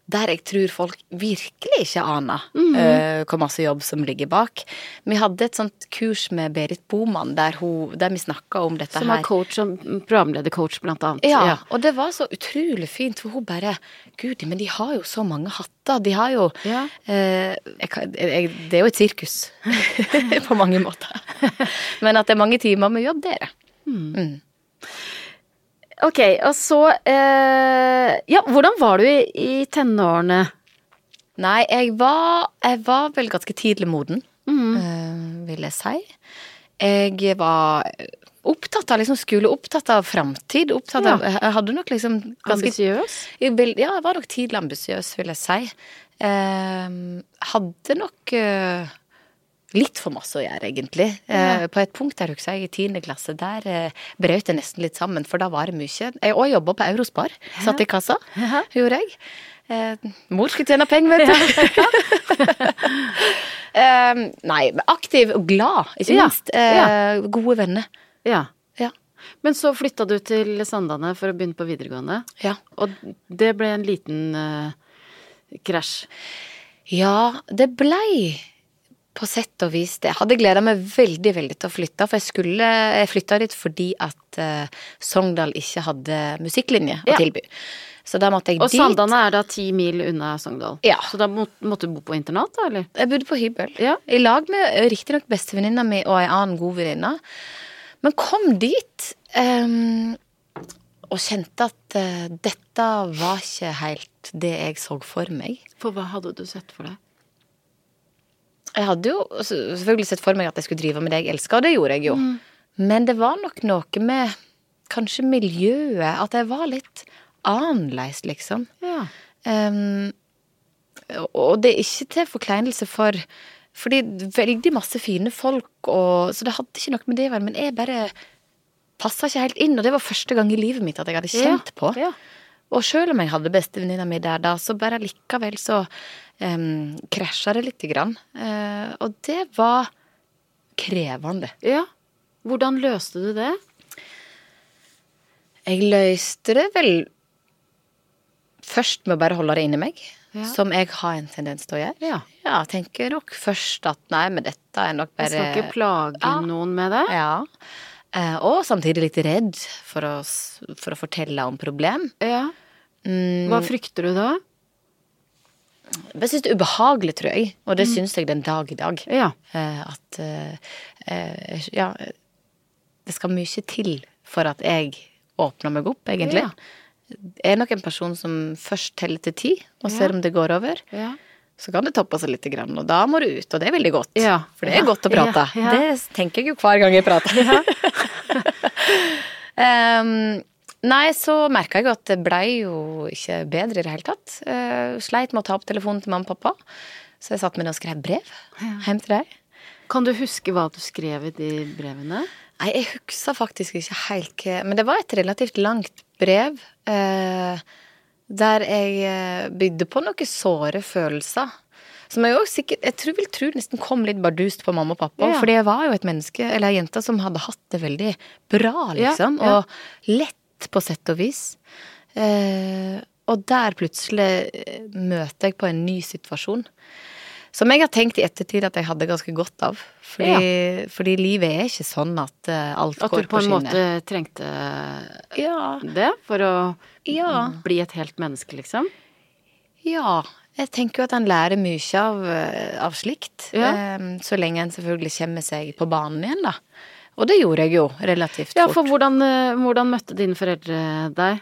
der jeg tror folk virkelig ikke aner Mhm. eh, hvor masse jobb som ligger bak. Vi hadde et sånt kurs med Berit Boman der, hun, der vi snakka om dette Som her. er coach, som programledercoach, blant annet. Ja, og det var så utrolig fint, for hun bare Gud, men de har jo så mange hatter. De har jo Ja. eh, jeg, kan- jeg, Det er jo et sirkus på mange måter. Men at det er mange timer med jobb, det er det. Ok, og så eh, Ja, hvordan var du i, i tenårene? Nei, jeg var, jeg var vel ganske tidlig moden, Mm. eh, vil jeg si. Jeg var opptatt av liksom skole, opptatt av framtid. Opptatt Ja. av, jeg hadde nok liksom ganske Ambisiøs? Jeg vil- Ja, jeg var nok tidlig ambisiøs, vil jeg si. Ehm, hadde nok eh, litt for masse å gjøre, egentlig. Eh, på et punkt der husker jeg i tiende klasse, der uh, brøt jeg nesten litt sammen, for da var det mye. Jeg òg jobba på Eurospar, satt i kassa, gjorde jeg. Eh, mor skulle tjene penger, vet du. Ehm, nei, men aktiv og glad, ikke Ja, minst. Eh, Gode venner. Ja. Ja. Men så flytta du til Sandane for å begynne på videregående, ja. og det ble en liten eh, krasj. Ja, det blei på sett og vis det. Jeg hadde gleda meg veldig veldig til å flytte, for jeg, skulle, jeg flytta dit fordi at eh, Sogndal ikke hadde musikklinje å Ja. tilby. Så da måtte jeg Og dit. Sandane er da ti mil unna Sogndal, Ja. så da må, måtte du bo på internat, da, eller? Jeg bodde på hybel. Ja. I lag med eh, riktignok bestevenninna mi og ei annen god venninne. Men kom dit ehm, og kjente at eh, dette var ikke helt det jeg så for meg. For hva hadde du sett for deg? Jeg hadde jo s- selvfølgelig sett for meg at jeg skulle drive med det jeg elska, og det gjorde jeg jo. Men det var nok noe med kanskje miljøet, at jeg var litt annerledes, liksom. Ja. Ehm, og det er ikke til forkleinelse for Fordi veldig masse fine folk, og, så det hadde ikke noe med det å være. Men jeg bare passa ikke helt inn, og det var første gang i livet mitt at jeg hadde kjent Ja, på. ja. Og sjøl om jeg hadde bestevenninna mi der da, så bare likevel så um, krasja det lite grann. Eh, og det var krevende. ja. Hvordan løste du det? Jeg løste det vel først med å bare holde det inni meg, Ja. som jeg har en tendens til å gjøre. Ja. jeg tenker nok først at nei, men dette er nok Jeg bare skal ikke plage Ja. noen med det. Ja. Eh, og samtidig litt redd for å, s- for å fortelle om problem. Ja. Mm. Hva frykter du da? Men jeg syns det er ubehagelig, tror jeg. Og Mm. det syns jeg den dag i dag. Ja. Eh, at eh, eh, Ja, det skal mye til for at jeg åpner meg opp, egentlig. Ja. Jeg er nok en person som først teller til ti, og Ja. ser om det går over. ja. Så kan det toppe seg litt, grann, og da må du ut, og det er veldig godt. Ja. For det er Ja. godt å prate. Ja. Ja. Det tenker jeg jo hver gang jeg prater. Em, Ehm, Nei, så merka jeg at det blei jo ikke bedre i det hele tatt. Eh, sleit med å ta opp telefonen til mamma og pappa, så jeg satt med det og skrev brev hjem til dem. Kan du huske hva du skrev i de brevene? Nei, jeg husker faktisk ikke helt hva Men det var et relativt langt brev eh, der jeg eh, bydde på noen såre følelser. Som jeg, også sikkert, jeg tror, vil tro nesten kom litt bardust på mamma og pappa. Ja. Fordi jeg var jo et menneske, eller ei jente, som hadde hatt det veldig bra, liksom. Ja, ja. Og lett, på sett og vis. Eh, og der plutselig eh, møter jeg på en ny situasjon. Som jeg har tenkt i ettertid at jeg hadde ganske godt av. Fordi, fordi livet er ikke sånn at eh, alt At går du på en skinner. måte trengte Ja. det for å Ja. bli et helt menneske, liksom? ja. Jeg tenker jo at en lærer mye av, eh, av slikt. Ja. eh, Så lenge en selvfølgelig kommer seg på banen igjen, da. Og det gjorde jeg jo relativt Ja, fort. for hvordan, eh, hvordan møtte dine foreldre deg?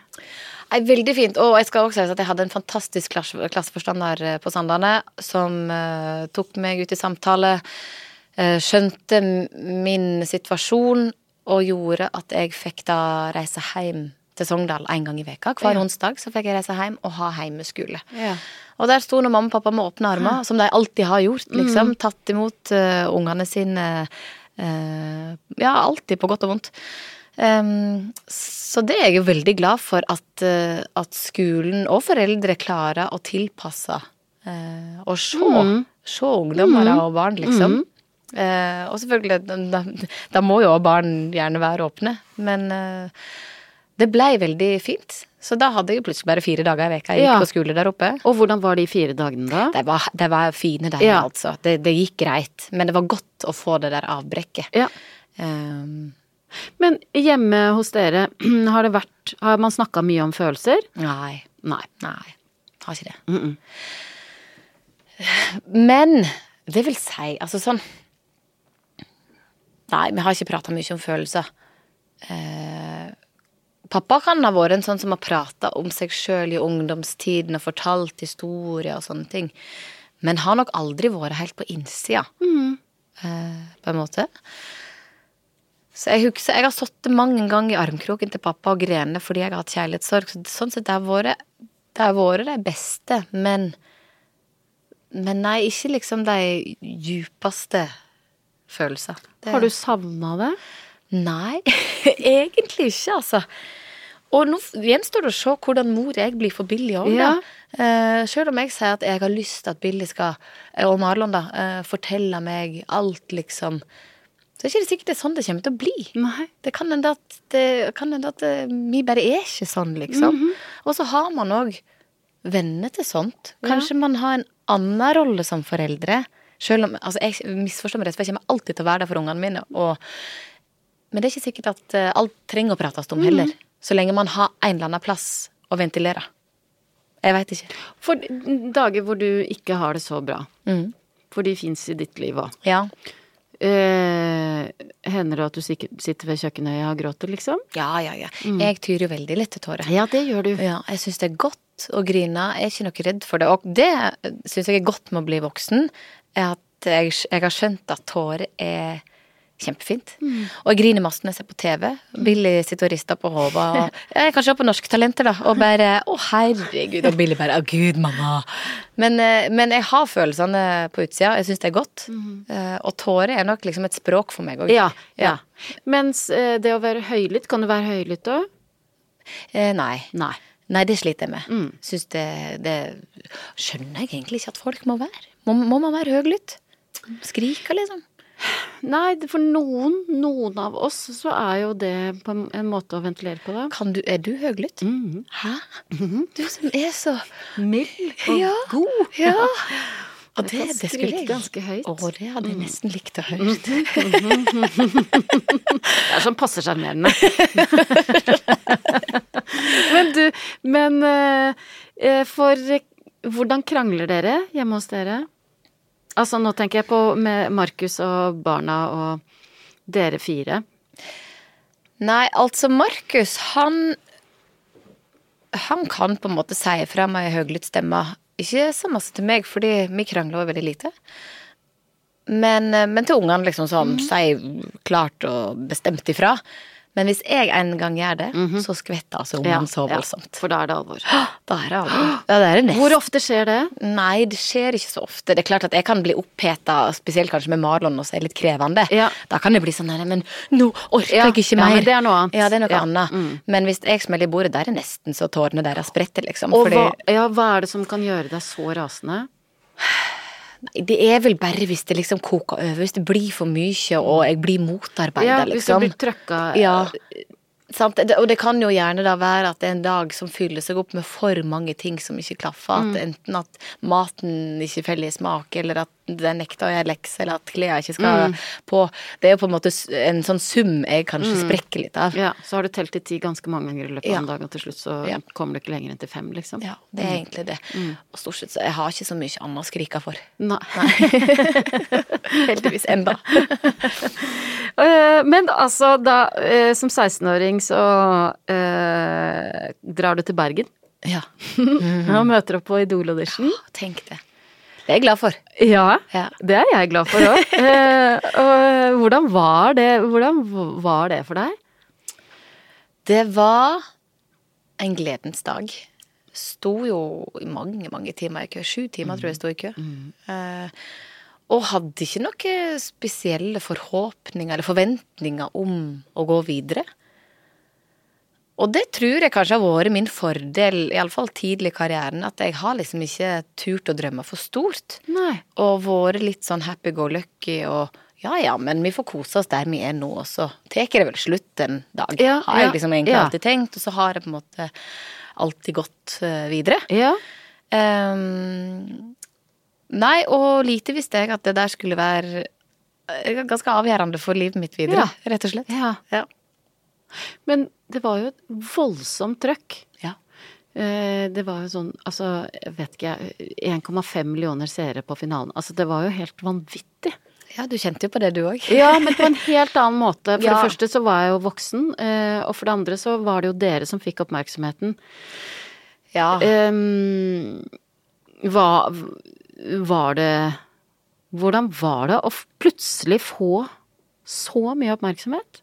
Nei, veldig fint. Og jeg skal også si at jeg hadde en fantastisk klasse, klasseforstander eh, på Sandane som eh, tok meg ut i samtale, eh, skjønte m- min situasjon og gjorde at jeg fikk da reise hjem til Sogndal en gang i veka. Hver Ja. onsdag så fikk jeg reise hjem og ha heimeskole. Ja. Og der sto nå mamma og pappa med åpne armer, som de alltid har gjort. liksom, Tatt imot eh, ungene sine eh, ja, alltid på godt og vondt. Ehm, så det er jeg jo veldig glad for at, eh, at skolen og foreldre klarer å tilpasse eh, og se, se ungdommer og barn, liksom. Eh, og selvfølgelig, da- da- da må jo også barn gjerne være åpne, men eh, det blei veldig fint. Så da hadde jeg jo plutselig bare fire dager i veka jeg gikk Ja. på skole der oppe. Og hvordan var de fire dagene da? De var, de var fine, de, Ja. altså. Det, det gikk greit. Men det var godt å få det der avbrekket. Ja. Ehm, Men hjemme hos dere, har det vært Har man snakka mye om følelser? nei. Nei. Nei. Har ikke det. Mm-mm. Men det vil si, altså sånn Nei, vi har ikke prata mye om følelser. Eh, pappa kan ha vært en sånn som har prata om seg sjøl i ungdomstiden og fortalt historier og sånne ting. Men har nok aldri vært helt på innsida, eh, på en måte. Så jeg husker, jeg har sittet mange ganger i armkroken til pappa og grene fordi jeg har hatt kjærlighetssorg. Så sånn sett, det har vært det har vært de beste, men Men nei, ikke liksom de djupeste følelser. Det- Har du savna det? Nei, egentlig ikke, altså. Og nå f- gjenstår det å se hvordan mor jeg blir for Billy òg, da. Ja. Eh, selv om jeg sier at jeg har lyst til at Billy skal, eh, og Marlon, da, eh, fortelle meg alt, liksom. Så er ikke det sikkert det er sånn det kommer til å bli. Nei. Det kan hende at, det, kan hende at eh, vi bare er ikke sånn, liksom. Og så har man òg venner til sånt. Kanskje man har en annen rolle som foreldre. Selv om, altså jeg misforstår meg rett, for jeg kommer alltid til å være der for ungene mine. Og, men det er ikke sikkert at eh, alt trenger å prates om heller. Så lenge man har en eller annen plass å ventilere. Jeg veit ikke. For dager hvor du ikke har det så bra. For de fins i ditt liv òg. Ja. Eh, hender det at du sikker- sitter ved kjøkkenøya og gråter, liksom? ja, ja, ja. Jeg tyr jo veldig lett til tårer. Ja, det gjør du. Ja, jeg syns det er godt å grine. Jeg er ikke noe redd for det. Og det syns jeg er godt med å bli voksen. er At jeg, jeg har skjønt at tårer er kjempefint. Mm. Og jeg griner masse når jeg ser på TV. Billy sitter og rister på hodet. og- Jeg kan se på Norske Talenter, da, og bare Å, herregud. Og Billy bare Å, gud, mamma. Men, eh, men jeg har følelsene på utsida. Jeg syns det er godt. Eh, Og tårer er nok liksom et språk for meg òg. Mm. Ja, ja. Mens eh, det å være høylytt, kan du være høylytt òg? Eh, Nei. Nei. Nei, det sliter jeg med. Mm. Synes det, det skjønner jeg egentlig ikke at folk må være. Må, må man være høylytt? Skrike, liksom? Nei, det- for noen, noen av oss, så er jo det på en en måte å ventilere på, da. Kan du, er du høylytt? Mm. Hæ? Mhm. Du som er så Mild Ja. god. Ja! Og Du det, kan det skrike skulle jeg ganske høyt. Mm. Å, det hadde jeg nesten likt å høre. Det er sånn passe sjarmerende. men du, men eh, eh, for eh, hvordan krangler dere hjemme hos dere? Altså nå tenker jeg på med Markus og barna og dere fire. Nei, altså Markus, han Han kan på en måte si ifra med ei høylytt stemme. Ikke så masse til meg, fordi vi krangler jo veldig lite. eh, Mhm. Men, men til ungene, liksom, som sier klart og bestemt ifra. Men hvis jeg en gang gjør det, så skvetter altså ungene så Mhm. ja, voldsomt. For da er det alvor. Da er det alvor. Ja, det er det nesten. Hvor ofte skjer det? Nei, det skjer ikke så ofte. Det er klart at jeg kan bli oppheta, spesielt kanskje med Marlon, og så er det litt krevende. Ja. Da kan det bli sånn nei, men nå orker Ja, jeg ikke ja, mer. men det er noe annet. Ja, det er noe Ja, Mm. annet. Men hvis jeg smeller i bordet, da er det nesten så tårene deres spretter, liksom. Og Fordi- hva, ja, hva er det som kan gjøre deg så rasende? Nei, Det er vel bare hvis det liksom koker over, hvis det blir for mye, og jeg blir motarbeida, Ja, hvis du liksom. blir trøkka Ja. Eh, Sant? Det- Og det kan jo gjerne da være at det er en dag som fyller seg opp med for mange ting som ikke klaffer. At enten at maten ikke feller i smak, eller at den nekter å gjøre lekser, eller at klærne ikke skal på. Det er jo på en måte s- en sånn sum jeg kanskje sprekker litt av. Ja, så har du telt til ti ganske mange ganger i løpet av Ja. en dag, og til slutt så Ja. kommer du ikke lenger enn til fem, liksom. Ja, det er egentlig det. Og stort sett så jeg har ikke så mye annet å skrike for. Nei. Heldigvis enda. Eh, Men altså, da, eh, som 16-åring så eh, drar du til Bergen Ja, Mhm. og møter opp på Idol-audition. tenk det. Det er jeg glad for. Ja, Ja. det er jeg glad for òg. Eh, og hvordan var det, hvordan var det for deg? Det var en gledens dag. Sto jo i mange, mange timer i kø. Sju timer tror jeg sto i kø. Eh, og hadde ikke noen spesielle forhåpninger eller forventninger om å gå videre. Og det tror jeg kanskje har vært min fordel, iallfall tidlig i karrieren, at jeg har liksom ikke turt å drømme for stort. Nei. Og vært litt sånn happy go lucky og ja ja, men vi får kose oss der vi er nå, og så tar det vel slutt en dag. Ja, har jeg ja, liksom egentlig ja. alltid tenkt, og så har det på en måte alltid gått eh, videre. Ja. Ehm, nei, og lite visste jeg at det der skulle være eh, ganske avgjørende for livet mitt videre, Ja. rett og slett. ja. Ja. Men det var jo et voldsomt trøkk. Ja. Eh, Det var jo sånn, altså, jeg vet ikke jeg, 1,5 millioner seere på finalen. Altså, det var jo helt vanvittig. Ja, du kjente jo på det, du òg. Ja, men på en helt annen måte. For Ja. det første så var jeg jo voksen, eh, og for det andre så var det jo dere som fikk oppmerksomheten. Ja. Ehm, hva var det Hvordan var det å f- plutselig få så mye oppmerksomhet?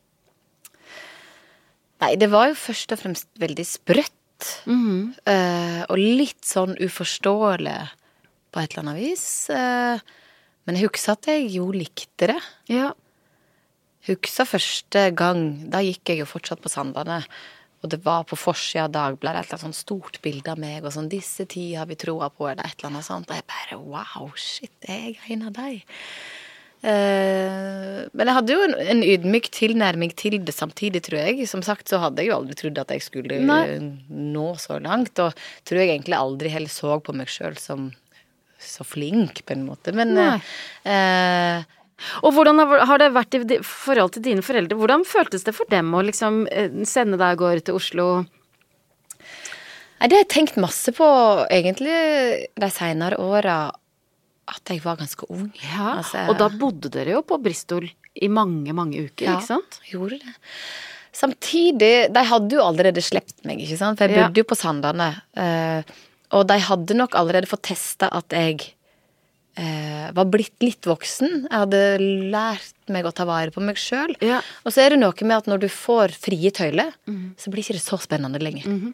Nei, det var jo først og fremst veldig sprøtt. eh, og litt sånn uforståelig på et eller annet vis. eh, men jeg husker at jeg jo likte det. Ja. Husker første gang, da gikk jeg jo fortsatt på Sandane. Og det var på forsida av Dagbladet et eller annet sånn stort bilde av meg og sånn 'Disse ti har vi troa på', eller et eller annet sånt. Og jeg bare wow, shit, er jeg en av de? Eh, men jeg hadde jo en, en ydmyk tilnærming til det samtidig, tror jeg. Som sagt så hadde jeg jo aldri trodd at jeg skulle Nei. nå så langt. Og tror jeg egentlig aldri heller så på meg sjøl som så flink, på en måte. Men Nei. eh, eh, Og hvordan har har det vært i di- forhold til dine foreldre? Hvordan føltes det for dem å liksom eh, sende deg av gårde til Oslo? Nei, det har jeg tenkt masse på egentlig de seinere åra. At jeg var ganske ung. Ja, Altså, og da bodde dere jo på Bristol i mange, mange uker, ja, ikke sant? Gjorde det. Samtidig De hadde jo allerede slept meg, ikke sant? For jeg Ja. bodde jo på Sandane. eh, og de hadde nok allerede fått testa at jeg eh, var blitt litt voksen. Jeg hadde lært meg å ta vare på meg sjøl. Ja. Mhm. Og så er det noe med at når du får frie tøyler, så blir ikke det så spennende lenger.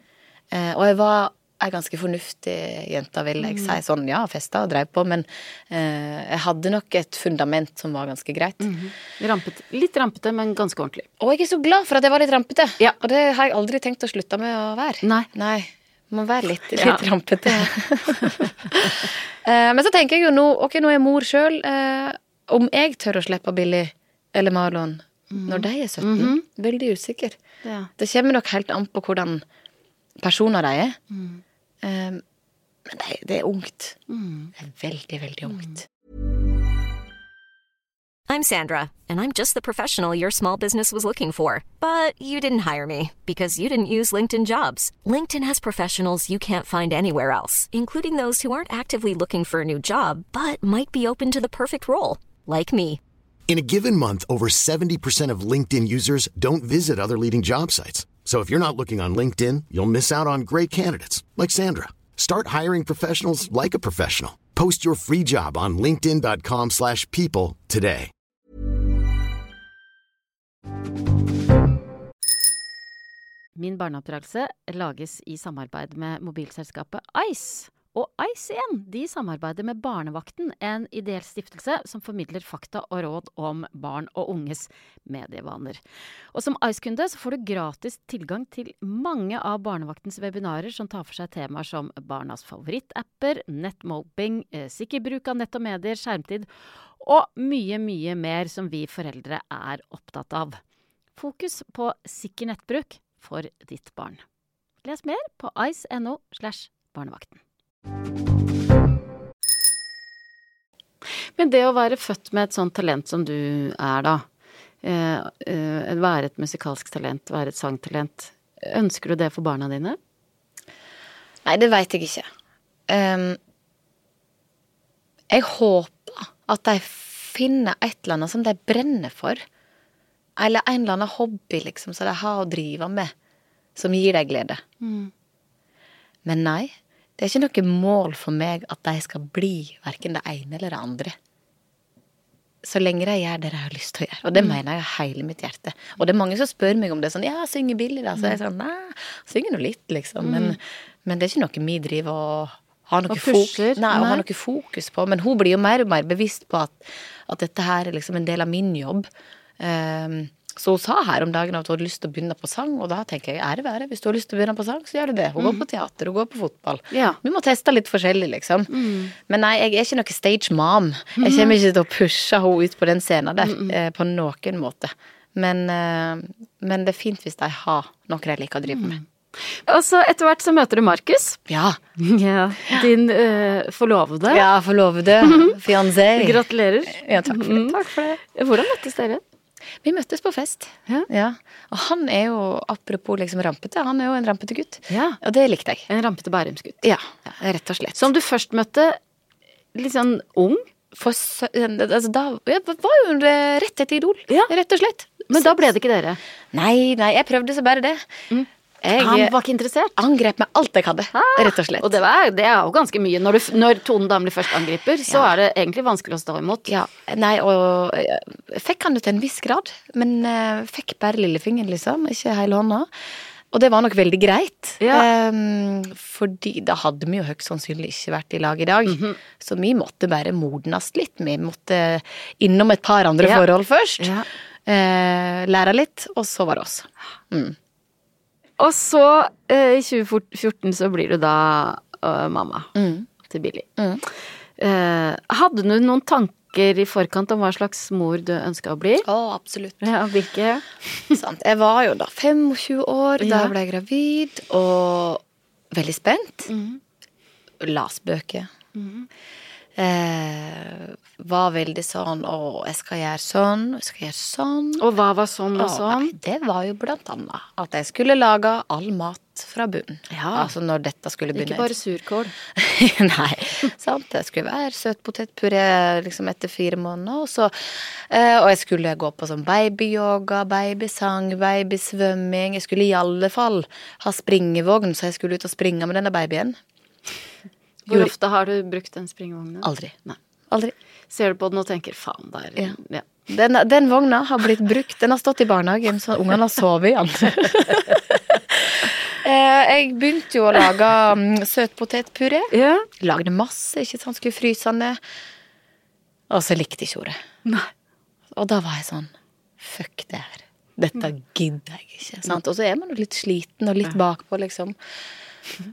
eh, og jeg var ei ganske fornuftig jente, vil Mhm. jeg si. Sånn, ja, festa og dreiv på, men eh, jeg hadde nok et fundament som var ganske greit. Mhm. Rampete, litt rampete, men ganske ordentlig. Og jeg er så glad for at jeg var litt rampete. Ja. Og det har jeg aldri tenkt å slutte med å være. Nei. Nei. Må være litt, litt Ja. rampete. Eh, Men så tenker jeg jo nå Ok, nå er jeg mor sjøl. Om jeg tør å slippe Billy eller Marlon når de er 17? Veldig usikker. Ja. Det kommer nok helt an på hvordan personer de er. Eh, Men det, det er ungt. Det er veldig, veldig ungt. I'm Sandra, and I'm just the professional your small business was looking for. But you didn't hire me because you didn't use LinkedIn jobs. LinkedIn has professionals you can't find anywhere else, including those who aren't actively looking for a new job but might be open to the perfect role, like me. In a given month, over 70% of LinkedIn users don't visit other leading job sites. So if you're not looking on LinkedIn, you'll miss out on great candidates like Sandra. Start hiring professionals like a professional. Post your free job on linkedin.com/people slash people today. Min barneoppdragelse lages i samarbeid med mobilselskapet Ice. Og Ice igjen, de samarbeider med Barnevakten, en ideell stiftelse som formidler fakta og råd om barn og unges medievaner. Og som Ice-kunde så får du gratis tilgang til mange av Barnevaktens webinarer som tar for seg temaer som barnas favorittapper, nettmoping, eh, sikker bruk av nett og medier, skjermtid og mye, mye mer som vi foreldre er opptatt av. Fokus på sikker nettbruk for ditt barn. Les mer på ice.no slash barnevakten. Men det å være født med et sånt talent som du er, da. Eh, eh, være et musikalsk talent, være et sangtalent. Ønsker du det for barna dine? Nei, det veit jeg ikke. Ehm, jeg håper at de finner et eller annet som de brenner for. Eller en eller annen hobby liksom, som de har å drive med, som gir dem glede. Mm. Men nei, det er ikke noe mål for meg at de skal bli verken det ene eller det andre. Så lenge de gjør det de har lyst til å gjøre. Mm. Og det mener jeg av hele mitt hjerte. Og det er mange som spør meg om det. sånn, 'Ja, synger Billy', da? Så jeg er sånn Nei, synger nå litt, liksom. Men, men det er ikke noe vi driver og har noe, Mm. Og pusher. fok nei, og Nei. har noe fokus på. Men hun blir jo mer og mer bevisst på at, at dette her er liksom en del av min jobb. Ehm, så hun sa her om dagen at hun hadde lyst til å begynne på sang, og da tenker jeg ære være. Hvis du har lyst til å begynne på sang, så gjør du det. Hun går på teater, hun går på fotball. Ja. Vi må teste litt forskjellig, liksom. Men nei, jeg er ikke noe stage mom. Jeg kommer ikke til å pushe henne ut på den scenen der, eh, på noen måte. Men, eh, men det er fint hvis de har noe de liker å drive med. Og så etter hvert så møter du Markus. Ja. Ja, din eh, forlovede. ja, forlovede, fiancé. Gratulerer. Ja, takk for det. Takk for det. Hvordan møttes dere? Vi møttes på fest. Ja. Og han er jo, apropos liksom rampete, han er jo en rampete gutt. Ja. Og det likte jeg. En rampete bærumsgutt. Ja, rett og slett. Som du først møtte litt sånn ung. For sø- altså, da jeg var jo eh, rett etter Idol, Ja. rett og slett. Men da ble det ikke dere. Nei, nei, jeg prøvde så bare det. Jeg Han var ikke interessert. angrep med alt jeg hadde, rett og slett. Og det, var, det er jo ganske mye. Når, du, når Tone Damli først angriper, så Ja. er det egentlig vanskelig å stå imot. Ja, nei, og jeg fikk han jo til en viss grad, men eh, fikk bare lillefingeren, liksom, ikke hele hånda. Og det var nok veldig greit, Ja. em, fordi da hadde vi jo høyst sannsynlig ikke vært i lag i dag. Mhm. Så vi måtte bare modnes litt. Vi måtte innom et par andre Ja. forhold først. Ja. eh, lære litt, og så var det oss. Og så, eh, i 2014, så blir du da eh, mamma Mm. til Billy. Eh, hadde du noen tanker i forkant om hva slags mor du ønska å bli? Å, absolutt. Ja, hvilke? Sant. Jeg var jo da 25 år, da Ja. ble jeg gravid, og veldig spent. Mhm. Las bøker. Eh, var veldig sånn Å, jeg skal gjøre sånn, jeg skal gjøre sånn. Og hva var sånn og Å, sånn? nei, det var jo blant annet at jeg skulle lage all mat fra bunnen. Ja. Altså når dette skulle Ikke begynne. bare surkål. Nei, sant. Jeg skulle være søtpotetpuré liksom etter fire måneder. Og, så, eh, og jeg skulle gå på sånn babyyoga, babysang, babysvømming. Jeg skulle i alle fall ha springevogn, så jeg skulle ut og springe med denne babyen. Hvor Gjorde- ofte har du brukt den springvogna? Aldri. Nei. Aldri. Ser du på den og tenker 'faen, der Ja. ja. Den, den vogna har blitt brukt. Den har stått i barnehagen, så ungene har sovet i den. Eh, jeg begynte jo å lage mm, søtpotetpuré. ja. Lagde masse, ikke sant. Skulle fryse den ned. Og så likte ikke hun det. Nei. Og da var jeg sånn Fuck det her. Dette Mm. gidder jeg ikke. Sant? Og så er man jo litt sliten og litt bakpå, liksom.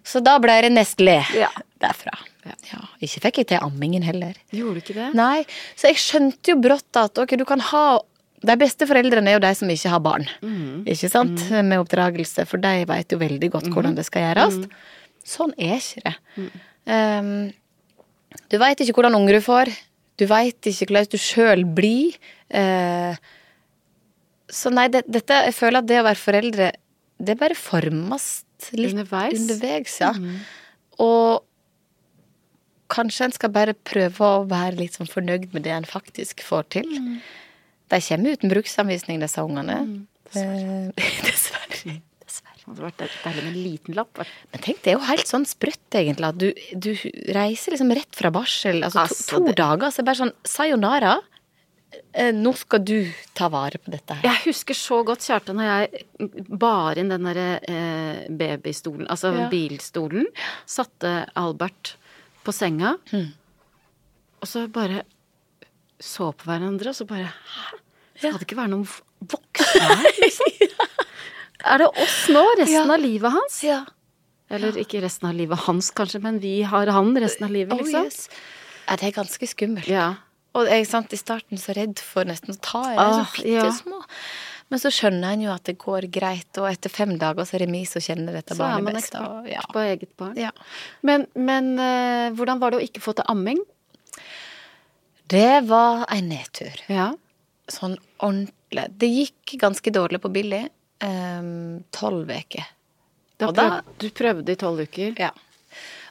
Så da ble det Nestlé Ja. derfra. Ja, ikke fikk jeg til ammingen heller. Gjorde du ikke det? Nei, Så jeg skjønte jo brått at ok, du kan ha De beste foreldrene er jo de som ikke har barn. Ikke sant? Med oppdragelse, for de veit jo veldig godt hvordan det skal gjøres. Sånn er ikke det. Um, du veit ikke hvordan unger du får. Du veit ikke hvordan du sjøl blir. Eh, så nei, det, dette, jeg føler at det å være foreldre, det bare formes litt Underveis. underveis, ja. Og kanskje en skal bare prøve å være litt sånn fornøyd med det en faktisk får til. De kommer uten bruksanvisning, disse ungene. Eh, Dessverre. Dessverre. Det hadde vært deilig med en liten lapp. vært- Men tenk, det er jo helt sånn sprøtt, egentlig. At du, du reiser liksom rett fra barsel. Altså, to, Altså, to det- dager, så er det bare sånn sayonara. eh, nå skal du ta vare på dette her. Jeg husker så godt Kjartan og jeg bar inn den derre eh, babystolen, altså Ja. bilstolen. Satte Albert på senga, og så bare så på hverandre, og så bare Hæ? Skal det ikke være noen v- voksne her, liksom? Er det oss nå, resten Ja. av livet hans? Ja. Eller ikke resten av livet hans, kanskje, men vi har han resten av livet, Oh, liksom. yes. ja, det er ganske skummelt. Ja. Og jeg sant, i starten så redd for nesten å ta i det, så Ah, ja. bitte små. Men så skjønner en jo at det går greit, og etter fem dager så er det vi som kjenner dette Så er barnet man best. ekspert og- ja. på eget barn. Ja. Men, men eh, hvordan var det å ikke få til amming? Det var en nedtur. Ja. Sånn ordentlig. Det gikk ganske dårlig på Billy. ehm, Tolv uker. Da Og da- prøv- du prøvde i tolv uker. Ja.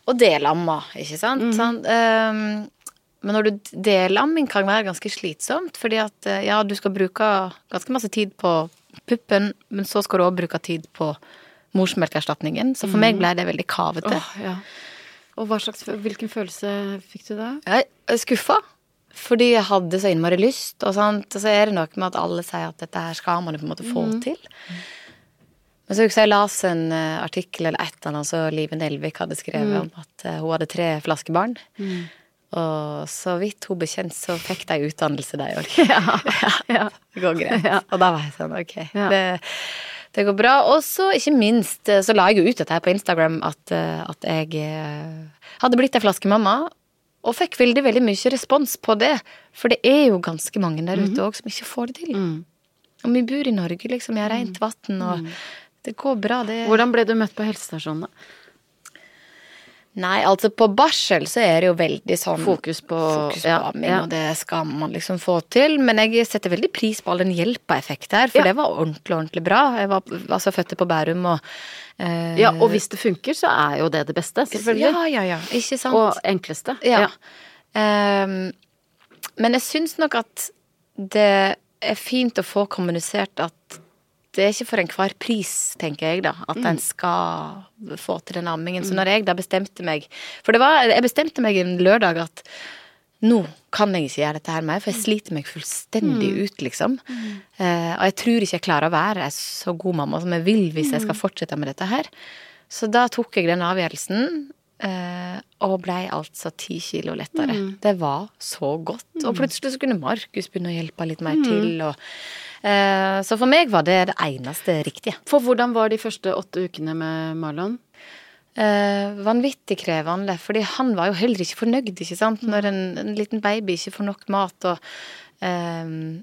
Og delamma, ikke sant? Sånn, ehm, men når du delamming kan være ganske slitsomt, fordi at eh, ja, du skal bruke ganske masse tid på puppen, men så skal du òg bruke tid på morsmelkerstatningen. Så for meg ble det veldig kavete. Åh, ja. Og hva slags, hvilken følelse fikk du da? Jeg er skuffa, fordi jeg hadde så innmari lyst. Og, sant? og så er det noe med at alle sier at dette her skal man jo på en måte få til. Men så husker jeg jeg las en eh, artikkel eller et eller annet som Liven Elvik hadde skrevet om at eh, hun hadde tre flaskebarn. Og så vidt hun bekjent, så fikk de utdannelse, de òg. Ja, det går greit. Og da var jeg sånn, ok, Ja. det, det går bra. Og så, ikke minst, eh, så la jeg jo ut dette her på Instagram at, eh, at jeg eh, hadde blitt ei flaskemamma. Og fikk veldig veldig mye respons på det. For det er jo ganske mange der ute òg som ikke får det til. Og vi bor i Norge, liksom. Vi har rent vann, og det går bra, det. Eh, Hvordan ble du møtt på helsestasjonen? da? Nei, altså på barsel så er det jo veldig sånn Fokus på- Fokus på ja, amming, ja. og det skal man liksom få til. Men jeg setter veldig pris på all den hjelpa jeg fikk der, for Ja. det var ordentlig, ordentlig bra. Jeg var altså født på Bærum og eh, Ja, og hvis det funker, så er jo det det beste, selvfølgelig. Ja, ja, ja. Ikke sant. Og enkleste. ja. Ehm, men jeg syns nok at det er fint å få kommunisert at det er ikke for enhver pris, tenker jeg, da, at en skal få til den ammingen. Så når jeg da bestemte meg For det var, jeg bestemte meg en lørdag at nå kan jeg ikke gjøre dette her mer, for jeg sliter meg fullstendig ut, liksom. Eh, og jeg tror ikke jeg klarer å være en så god mamma som jeg vil hvis jeg skal fortsette med dette her. Så da tok jeg den avgjørelsen, eh, og blei altså ti kilo lettere. Det var så godt. Og plutselig så kunne Markus begynne å hjelpe litt mer til, og eh, Så for meg var det det eneste riktige. For hvordan var de første åtte ukene med Marlon? Eh, vanvittig krevende, fordi han var jo heller ikke fornøyd, ikke sant, når en, en liten baby ikke får nok mat og eh,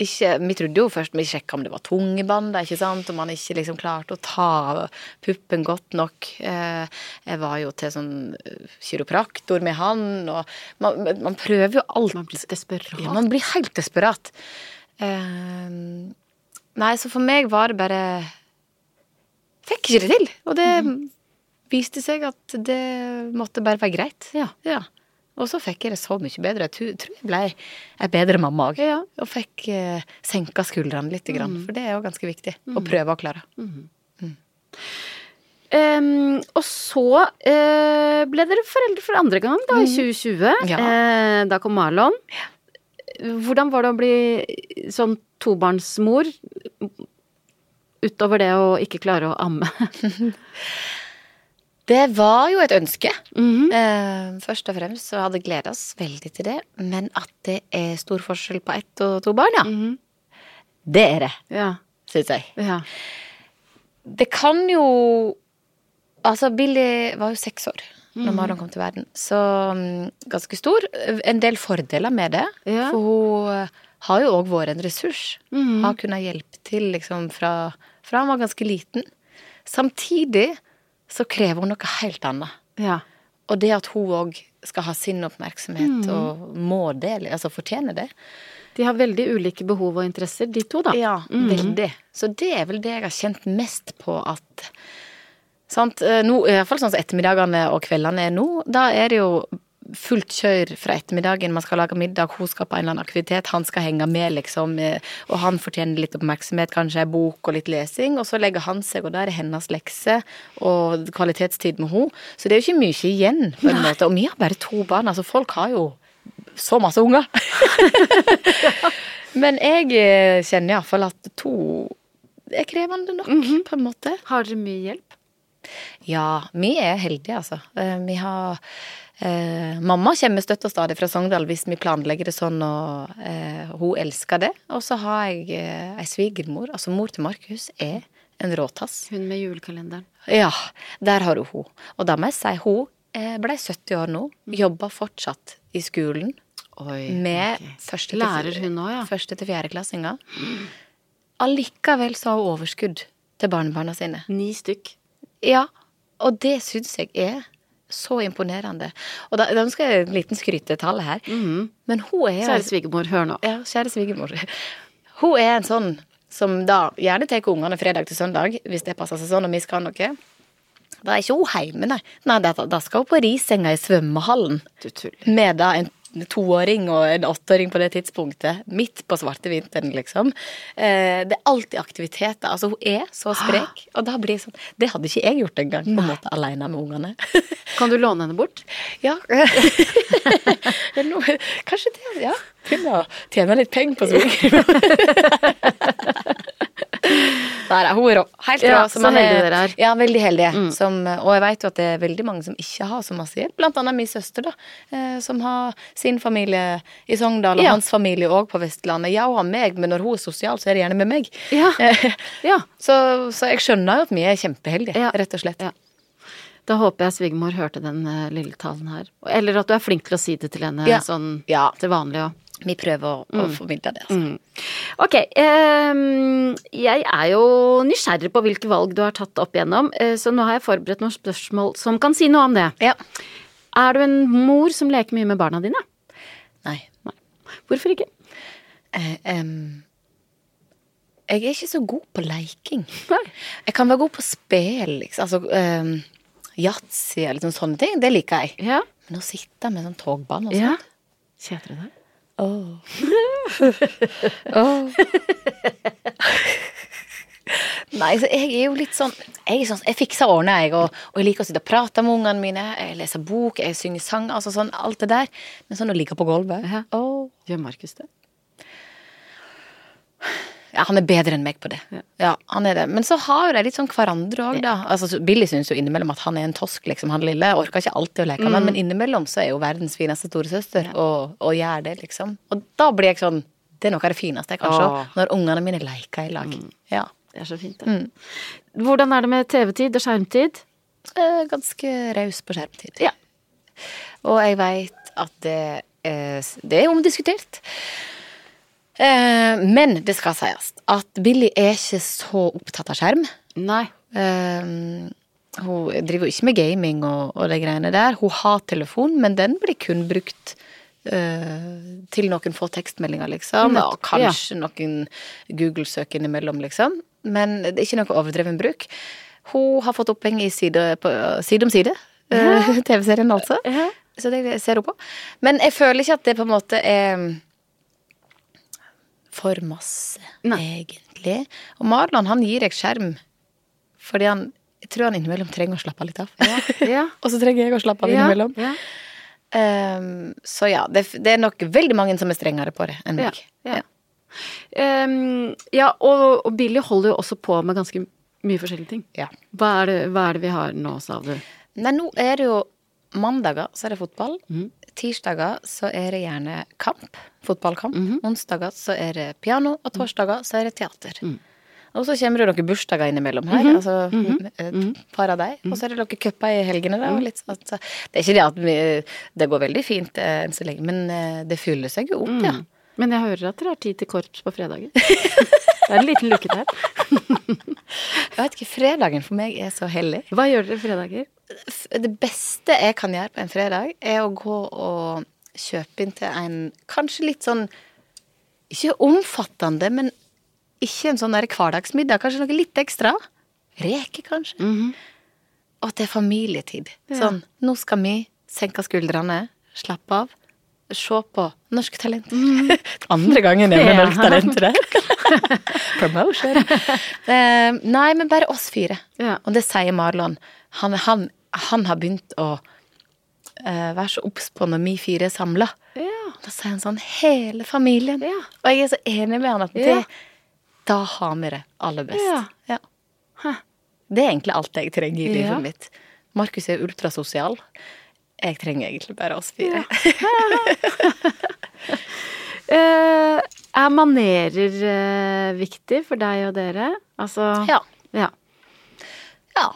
ikke, Vi trodde jo først vi sjekka om det var tungebånd, ikke sant, om han ikke liksom klarte å ta av puppen godt nok. Eh, jeg var jo til sånn eh, kiropraktor med han, og man, man prøver jo alt. Man blir desperat. Ja, man blir helt desperat. Eh, nei, så for meg var det bare Fikk ikke det til. Og det Mhm. viste seg at det måtte bare være greit. Ja. Og så fikk jeg det så mye bedre. Jeg tu- tror jeg ble ei bedre mamma òg. Ja. Mhm. Og fikk eh, senka skuldrene litt, grann, for det er jo ganske viktig å prøve å klare. Ehm, og så eh, ble dere foreldre for andre gang, da, i 2020. Ja. Eh, da kom Marlon. Hvordan var det å bli sånn tobarnsmor? Utover det å ikke klare å amme. Det var jo et ønske. Mhm. eh, først og fremst så hadde gleda oss veldig til det. Men at det er stor forskjell på ett og to barn, ja. Det er det, Ja, syns jeg. ja. Det kan jo Altså, Billy var jo seks år når Marlon kom til verden, så mm, ganske stor. En del fordeler med det. Ja. For hun eh, har jo òg vært en ressurs. Har kunnet hjelpe til liksom fra, fra han var ganske liten. Samtidig så krever hun noe helt annet. ja. Og det at hun òg skal ha sin oppmerksomhet og må det, eller- altså fortjener det. De har veldig ulike behov og interesser, de to, da. Ja, veldig. Så det er vel det jeg har kjent mest på at sant? eh, Nå, i hvert fall sånn som ettermiddagene og kveldene er nå, da er det jo fullt kjør fra ettermiddagen. Man skal lage middag, hun skal på en eller annen aktivitet, han skal henge med, liksom. eh, Og han fortjener litt oppmerksomhet, kanskje ei bok og litt lesing. Og så legger han seg, og der er hennes lekse og kvalitetstid med henne. Så det er jo ikke mye igjen, på en måte. Og vi har bare to barn. Altså, folk har jo så masse unger. Men jeg eh, kjenner iallfall at to er krevende nok, på en måte. Har dere mye hjelp? Ja, vi er heldige, altså. Eh, Vi har eh, Mamma kommer støtt og stadig fra Sogndal hvis vi planlegger det sånn, og eh, hun elsker det. Og så har jeg eh, ei svigermor, altså mor til Markus, er en råtass. Hun med julekalenderen. Ja, der har du hun. Og da må jeg si hun eh, ble 70 år nå, jobber fortsatt i skolen Oi. med ok. første, til, Lærer hun også, ja. første til fjerdeklassinger. Allikevel så har hun overskudd til barnebarna sine. Ni stykk. Ja, og det syns jeg er så imponerende. Og da, da skal jeg en liten skrytetall her. Men hun er Kjære svigermor, hør nå. ja, kjære svigermor. Hun er en sånn som da gjerne tar ungene fredag til søndag, hvis det passer seg sånn, og vi skal noe. Da er ikke hun hjemme, nei. nei da, da skal hun på Risenga i svømmehallen. Du tuller. Med da en toåring og en åtteåring på det tidspunktet. Midt på svarte vinteren, liksom. Eh, det er alltid aktiviteter. Altså, hun er så sprek. Og da blir det sånn Det hadde ikke jeg gjort engang, på en måte, aleine med ungene. Kan du låne henne bort? Ja. Eller noe- Kanskje det, ja. Begynne å tjene litt penger på svigermor. Nei, nei, hun er rå. Helt rå. Ja, så man heldige dere er. Mm. Ja, veldig heldige. Som, og jeg vet jo at det er veldig mange som ikke har så masse hjelp. Blant annet min søster, da. eh, Som har sin familie i Sogndal, og Ja. hans familie òg på Vestlandet. Ja, hun har meg, men når hun er sosial, så er det gjerne med meg. Ja. Eh, Ja. Så, så jeg skjønner jo at vi er kjempeheldige, Ja. rett og slett. Ja. Da håper jeg svigermor hørte den eh, lille talen her. Eller at du er flink til å si det til henne Ja. sånn Mm. Ja. til vanlig òg. Vi prøver å, å formidle det, altså. Ok, ehm, jeg er jo nysgjerrig på hvilke valg du har tatt opp igjennom, eh, så nå har jeg forberedt noen spørsmål som kan si noe om det. Ja. Er du en mor som leker mye med barna dine? Nei. Nei. Hvorfor ikke? Eh, em, jeg er ikke så god på leiking. Nei. Jeg kan være god på spill, liksom. Altså em, yatzy eller sånne, sånne ting. Det liker jeg. Ja. Men å sitte med sånn togball og ja. sånn Kjeder du deg? Åh. Nei, så jeg er jo litt sånn Jeg, er sånn, jeg fikser og ordner, jeg. Og, og jeg liker å sitte og prate med ungene mine. Jeg leser bok, jeg synger sang, altså sånn. Alt det der. Men sånn å ligge på gulvet Ja. Åh. Gjør Markus det? Ja, han er bedre enn meg på det. Ja, han er det. Men så har jo de litt sånn hverandre òg, da. Altså, så Billy syns jo innimellom at han er en tosk, liksom, han lille. Orker ikke alltid å leke Mm. med han, men innimellom så er jo verdens fineste storesøster, og, og gjør det, liksom. Og da blir jeg sånn Det er noe av det fineste jeg kan se, Åh. Mm. når ungene mine leker i lag. Ja. Det er så fint, det. Hvordan er det med TV-tid og skjermtid? Eh, Ganske raus på skjermtid. Ja. Og jeg veit at det, eh, s- det er omdiskutert. Eh, Men det skal sies at Billy er ikke så opptatt av skjerm. Nei. Ehm, hun driver jo ikke med gaming og, og de greiene der. Hun har telefon, men den blir kun brukt eh, til noen få tekstmeldinger, liksom. Nett- Og kanskje noen Google-søk innimellom, liksom. Men det er ikke noe overdreven bruk. Hun har fått oppheng i side, på, side om side. eh, TV-serien, altså. Så det ser hun på. Men jeg føler ikke at det på en måte er for masse, Nei. egentlig. Og Marlon, han gir deg skjerm fordi han jeg tror han innimellom trenger å slappe litt av. Ja. og så trenger jeg å slappe av Ja, innimellom. ja. Ehm, så ja, det, det er nok veldig mange som er strengere på det enn Ja, meg. ja. Ehm, ja, og, og Billy holder jo også på med ganske mye forskjellige ting. Ja. Hva er det, hva er det vi har nå, sa du? Nei, nå er det jo mandager, så er det fotball. Tirsdager så er det gjerne kamp. Fotballkamp. Onsdager så er det piano, og torsdager så er det teater. Og så kommer det noen bursdager innimellom her, altså et par av deg. Og så er det noen cuper i helgene, da. og Litt, sånn, så det er ikke det at vi, det går veldig fint eh, enn så lenge, men eh, det fyller seg jo opp, ja. Men jeg hører at dere har tid til korps på fredager. Det er en liten luke der. Jeg vet ikke, fredagen for meg er så hellig. Hva gjør dere fredager? f- det beste jeg kan gjøre på en fredag, er å gå og kjøpe inn til en kanskje litt sånn Ikke omfattende, men ikke en sånn der hverdagsmiddag. Kanskje noe litt ekstra. Reker, kanskje. Og at det er familietid. Sånn, nå skal vi senke skuldrene, slappe av, se på Norske Talenter. Andre gangen jeg er med Ja. Norske Talenter der. Promotion. Eh, nei, men bare oss fire. Ja. Og det sier Marlon. Han, han, han har begynt å eh, være så obs på når vi fire er samla. Ja. Da sier han sånn hele familien. Ja. Og jeg er så enig med han at det, Ja. da har vi det aller best. Ja. Ja. Hæ. Det er egentlig alt jeg trenger i livet Ja. mitt. Markus er ultrasosial. Jeg trenger egentlig bare oss fire. Eh, er manerer eh, viktig for deg og dere? Altså Ja. ja. ja.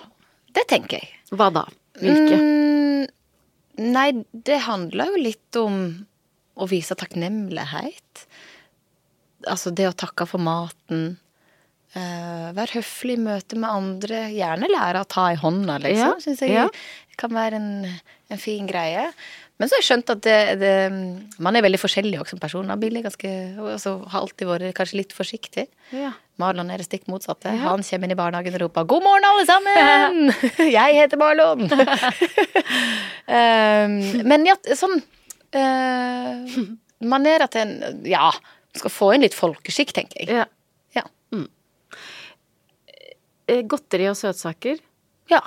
Det tenker jeg. Hva da? Hvilke? Mm, nei, det handler jo litt om å vise takknemlighet. Altså det å takke for maten. Eh, være høflig i møte med andre. Gjerne lære å ta i hånda, liksom. Ja, Syns jeg ja. kan være en, en fin greie. Men så har jeg skjønt at det, det, man er veldig forskjellig også som person. Abil er ganske, altså, har alltid vært kanskje litt forsiktig. Ja. Marlon er det stikk motsatte. Han kommer inn i barnehagen og roper 'God morgen, alle sammen!' 'Jeg heter Marlon'. um, men ja, sånn uh, Manerer til en Ja, skal få inn litt folkeskikk, tenker Ja. jeg. Ja. Eh, Godteri og søtsaker? ja.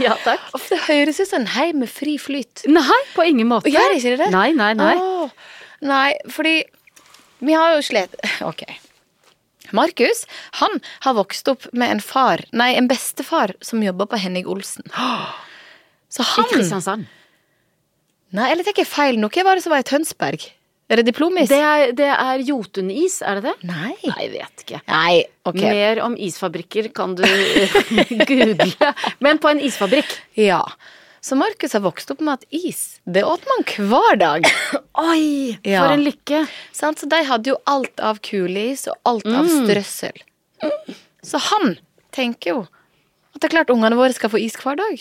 Ja takk. Uff, Det høres ut som en hei med fri flyt. Nei, på ingen måte. Gjør ikke det det? Nei, nei, nei. Åh, nei, fordi vi har jo slet Ok. Markus han har vokst opp med en far, nei, en bestefar som jobber på Henning Olsen. Så I han Kristiansand. Nei, eller tar jeg feil nå? Hva var det som var i Tønsberg? Er det diplomis? Det er, det er Jotunis, er det det? Nei. Nei, jeg vet ikke. Nei, ok. Mer om isfabrikker kan du google. Men på en isfabrikk. Ja. Så Markus har vokst opp med at is, det åt man hver dag. Oi, Ja. for en lykke. Sant? Så de hadde jo alt av kuleis og alt av strøssel. Så han tenker jo at det er klart ungene våre skal få is hver dag.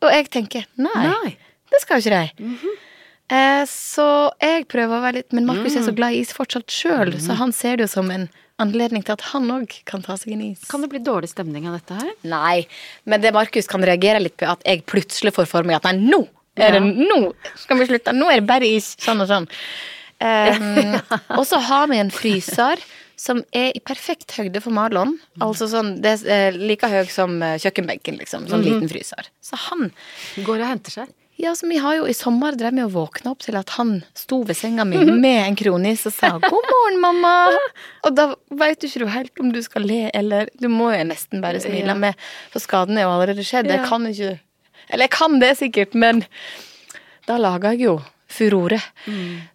Og jeg tenker nei, Nei. det skal jo ikke de. eh, så jeg prøver å være litt Men Markus er så glad i is fortsatt sjøl, så han ser det jo som en anledning til at han òg kan ta seg en is. Kan det bli dårlig stemning av dette her? Nei, men det Markus kan reagere litt på, at jeg plutselig får for meg at nei, nå er det, nå skal vi slutte, nå er det bare is, sånn og sånn. Um, og så har vi en fryser som er i perfekt høyde for Marlon. Altså sånn, det er eh, like høy som eh, kjøkkenbenken, liksom. Sånn liten fryser. Så han Går og henter seg. ja, altså, vi har jo I sommer drev vi og våkna opp til at han sto ved senga mi med en kronis og sa 'god morgen, mamma'. Og da veit du ikke du helt om du skal le eller Du må jo nesten bare smile med, for skaden er jo allerede skjedd. Jeg kan ikke Eller jeg kan det sikkert, men da laga jeg jo furore.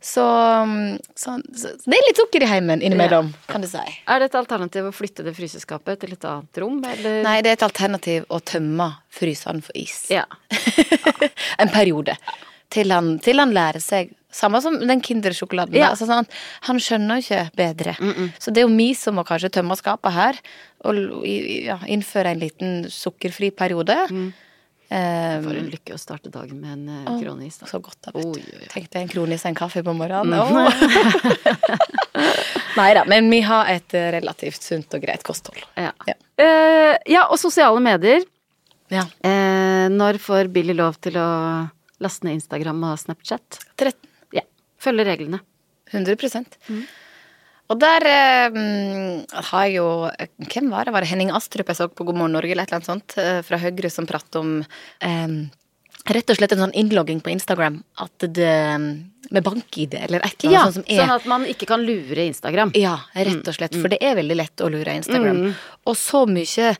Så, mm, så, så det er litt sukker i heimen innimellom, kan du si. Er det et alternativ å flytte det fryseskapet til et annet rom, eller? Nei, det er et alternativ å tømme fryseren for is. Ja. en periode. Til han, til han lærer seg. Samme som den Kindersjokoladen. Ja. Altså, sånn, han skjønner ikke bedre. Så det er jo vi som må kanskje tømme skapet her, og l- i- ja, innføre en liten sukkerfri periode. Eh, Mm. For en lykke å starte dagen med en eh, kronis. Da. så godt, da, vet Oi, du. oi, Mm. oi. Tenk deg en kronis og en kaffe på morgenen. Nei da, men vi har et eh, relativt sunt og greit kosthold. Ja. Ja. Eh, ja, og sosiale medier. Ja. Eh, når får Billy lov til å laste ned Instagram og Snapchat? 13. Ja. Følge reglene. 100 Mm. Og der eh, mm, har jeg jo Hvem var det? Var det Henning Astrup jeg så på God morgen Norge, eller et eller annet sånt, eh, fra Høyre, som pratet om eh, Rett og slett en sånn innlogging på Instagram at det, mm, med bank-ID eller et eller annet sånt som er sånn at man ikke kan lure Instagram. Mm, ja, rett og slett. For det er veldig lett å lure Instagram. Og så mye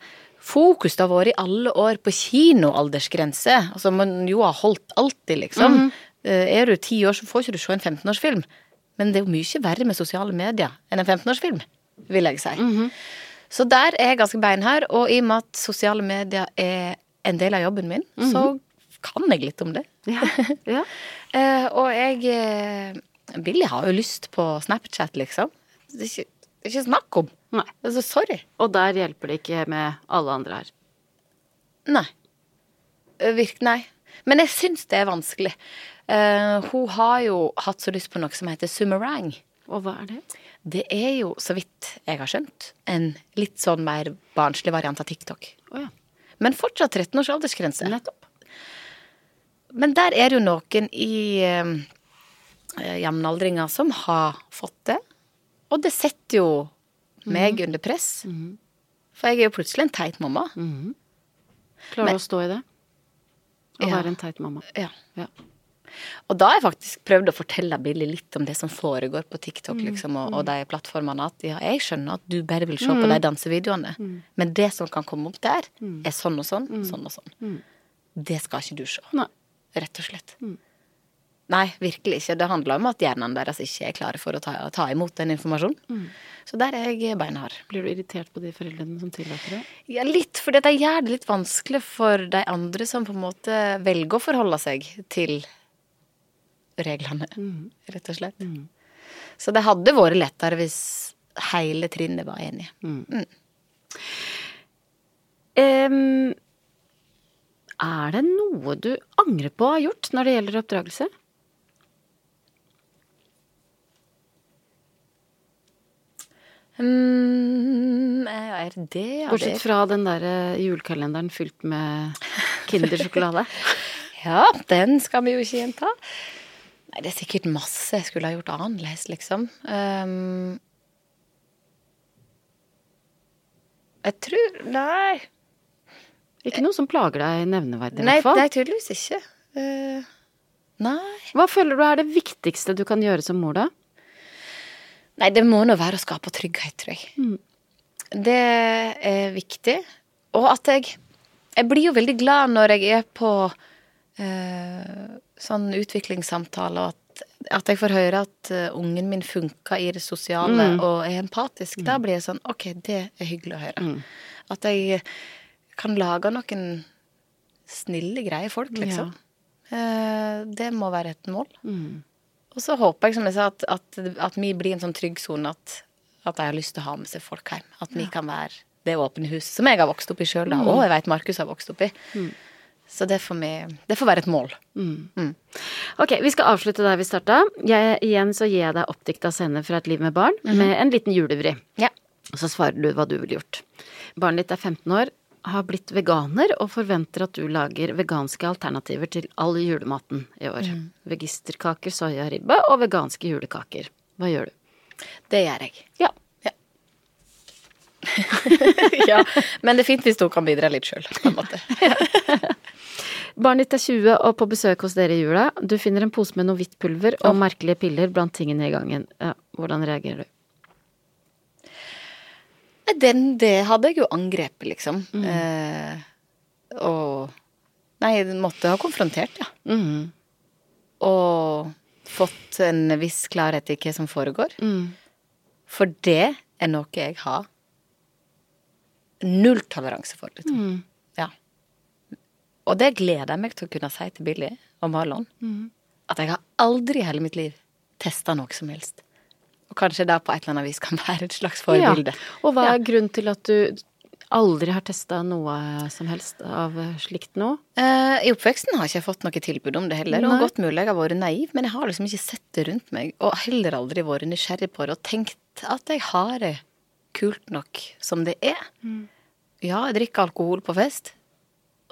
fokus det har vært i alle år på kinoaldersgrense. Altså man jo har holdt alltid, liksom. Mhm. Eh, Er du ti år, så får ikke du se en 15-årsfilm. Men det er jo mye verre med sosiale medier enn en 15-årsfilm, vil jeg si. Mhm. Så der er jeg ganske beinhard. Og i og med at sosiale medier er en del av jobben min, så kan jeg litt om det. Mhm. Ja. ja. Eh, og jeg eh, Billy har jo lyst på Snapchat, liksom. Det er ikke, det er ikke snakk om. Nei. Altså, sorry. Og der hjelper det ikke med alle andre her. Nei. Eh, Virk, nei. Men jeg syns det er vanskelig. Eh, hun har jo hatt så lyst på noe som heter Summerang. Og hva er det? Det er jo, så vidt jeg har skjønt, en litt sånn mer barnslig variant av TikTok. Å ja. Men fortsatt 13 års aldersgrense. Nettopp. Men der er det jo noen i eh, jevnaldringa som har fått det. Og det setter jo meg under press. For jeg er jo plutselig en teit mamma. Klarer du å stå i det? Å Ja. være en teit mamma. Ja. Ja. Og da har jeg faktisk prøvd å fortelle Billy litt om det som foregår på TikTok liksom, og, og de plattformene. At ja, jeg skjønner at du bare vil se på de dansevideoene, men det som kan komme opp der, er sånn og sånn, sånn og sånn. Det skal ikke du se. Nei. Rett og slett. Nei, virkelig ikke. Det handler om at hjernene deres ikke er klare for å ta, ta imot den informasjonen. Så der er jeg beinhard. Blir du irritert på de foreldrene som tillater det? Ja, litt, for det gjør det litt vanskelig for de andre som på en måte velger å forholde seg til reglene, rett og slett. Så det hadde vært lettere hvis hele trinnet var enige. Em, er det noe du angrer på å ha gjort når det gjelder oppdragelse? Mm, er det ja, det Bortsett fra den der eh, julekalenderen fylt med Kindersjokolade. Ja, den skal vi jo ikke gjenta. Nei, det er sikkert masse jeg skulle ha gjort annerledes, liksom. Ehm, jeg tror Nei. Ikke noe som plager deg nevneverdig, i Nei, hvert fall. nei tydeligvis ikke. Eh, nei. Hva føler du er det viktigste du kan gjøre som mor, da? Nei, det må nå være å skape trygghet, tror jeg. Det er viktig. Og at jeg Jeg blir jo veldig glad når jeg er på eh, sånn utviklingssamtale, og at, at jeg får høre at eh, ungen min funker i det sosiale og er empatisk. Da blir jeg sånn OK, det er hyggelig å høre. At jeg kan lage noen snille, greie folk, liksom. Eh, det må være et mål. Og så håper jeg, som jeg sa, at, at, at vi blir en sånn trygg sone at, at jeg har lyst til å ha med seg folk hjem. At vi kan være det åpne huset som jeg har vokst opp i sjøl, da. Og jeg veit Markus har vokst opp i. Så det får, vi, det får være et mål. Ok, Vi skal avslutte der vi starta. Jeg, igjen så gir jeg deg oppdikta scener fra et liv med barn, med en liten julevri. Ja. Og så svarer du hva du ville gjort. Barnet ditt er 15 år, har blitt veganer og forventer at du lager veganske alternativer til all julematen i år. Vegisterkaker, soyaribbe og veganske julekaker. Hva gjør du? Det gjør jeg. Ja. ja. Men det er fint hvis hun kan bidra litt sjøl, på en måte. Barnet ditt er 20 og på besøk hos dere i jula. Du finner en pose med noe hvitt pulver og merkelige piller blant tingene i gangen. Ja, hvordan reagerer du? Nei, Den, det hadde jeg jo angrepet, liksom. Eh, og Nei, jeg måtte ha konfrontert, ja. Og fått en viss klarhet i hva som foregår. For det er noe jeg har null toleranse for, liksom. Ja. Og det gleder jeg meg til å kunne si til Billy og Marlon. At jeg har aldri i hele mitt liv testa noe som helst. Og kanskje det på et eller annet vis kan være et slags forbilde. Ja. Og hva er grunnen til at du aldri har testa noe som helst av slikt noe? Eh, I oppveksten har ikke jeg fått noe tilbud om det heller. Nei. Og godt mulig jeg har vært naiv, men jeg har liksom ikke sett det rundt meg. Og heller aldri vært nysgjerrig på det og tenkt at jeg har det kult nok som det er. Mm. Ja, jeg drikker alkohol på fest,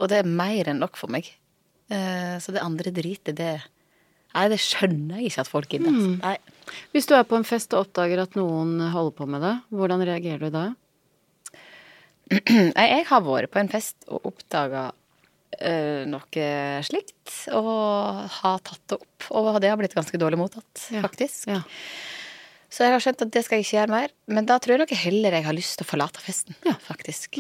og det er mer enn nok for meg. Eh, så det andre dritet, det Nei, det skjønner jeg ikke at folk gidder. altså. Mm. Nei. Hvis du er på en fest og oppdager at noen holder på med det, hvordan reagerer du da? Nei, jeg har vært på en fest og oppdaga noe slikt, og har tatt det opp. Og det har blitt ganske dårlig mottatt, Ja, faktisk. ja. Så jeg har skjønt at det skal jeg ikke gjøre mer. Men da tror jeg nok heller jeg har lyst til å forlate festen, faktisk.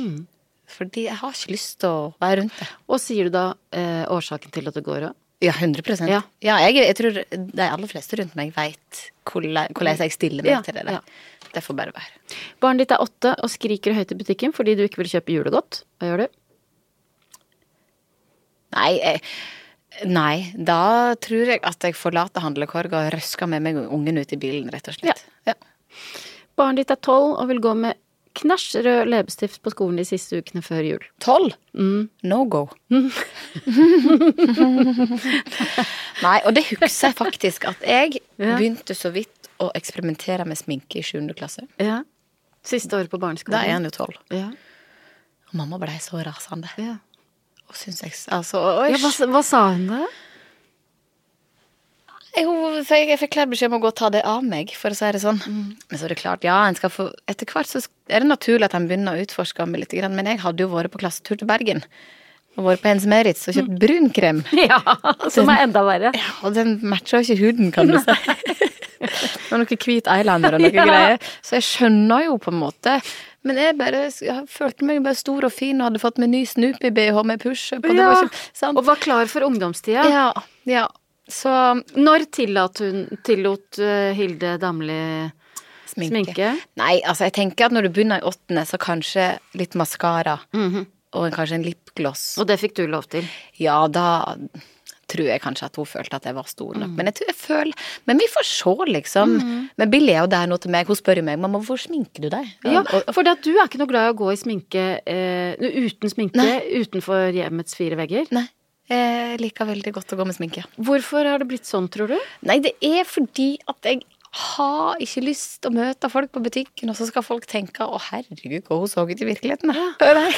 Fordi jeg har ikke lyst til å være rundt det. Og sier du da eh, årsaken til at det går òg? Ja, 100 Ja. Ja, jeg, jeg tror de aller fleste rundt meg veit hvordan hvordan jeg stiller meg Ja, til det ja. der. Det får bare være. Barnet ditt er åtte og skriker høyt i butikken fordi du ikke vil kjøpe julegodt. Hva gjør du? Nei, jeg, nei, da tror jeg at jeg forlater handlekorga og røsker med meg ungen ut i bilen, rett og slett. Ja. Barnet ditt er tolv og vil gå med knæsj rød leppestift på skolen de siste ukene før jul. Tolv? Mm. No go. nei, og det husker jeg faktisk at jeg begynte så vidt å eksperimentere med sminke i sjuende klasse. Ja. Siste året på Da er barneskolen. han jo tolv. Ja. Og mamma blei så rasende. Ja. Og syns jeg Altså, og Ja, jeg, hva, hva sa hun da? jeg, hun- for jeg, jeg fikk klar beskjed om å gå og ta det av meg, for å si det sånn. Mm. Men så er det klart, ja, en skal få Etter hvert så sk- er det naturlig at en begynner å utforske meg litt, grann, men jeg hadde jo vært på klassetur til Bergen. og vært på Hennes Maurits og Mm. kjøpt brun krem. Ja, som er enda verre. Og den matcher jo ikke huden, kan du si. Det var noe hvit eyeliner og noe Ja. greier. Så jeg skjønner jo på en måte. Men jeg bare jeg følte meg bare stor og fin og hadde fått meg ny Snoopy-BH med push-up. Og det var ikke sant. Og var klar for ungdomstida. Ja, ja. Så Når tillot, hun, tillot eh, Hilde Damli sminke. sminke? Nei, altså jeg tenker at når du begynner i åttende, så kanskje litt maskara. Mhm. Og en- kanskje en lipgloss. Og det fikk du lov til. Ja, da tror jeg kanskje at hun følte at jeg var stor nok. Men jeg tror jeg føler Men vi får se, liksom. Men Billy er jo der nå til meg. Hun spør jo meg mamma, hvor sminker du deg? Ja, Og, og, for det at du er ikke noe glad i å gå i sminke eh, uten sminke utenfor hjemmets fire vegger. nei. Jeg liker veldig godt å gå med sminke. Hvorfor har det blitt sånn, tror du? Nei, det er fordi at jeg har ikke lyst å møte folk på butikken, og så skal folk tenke 'Å, herregud, hva hun så ut i virkeligheten', da. Nei.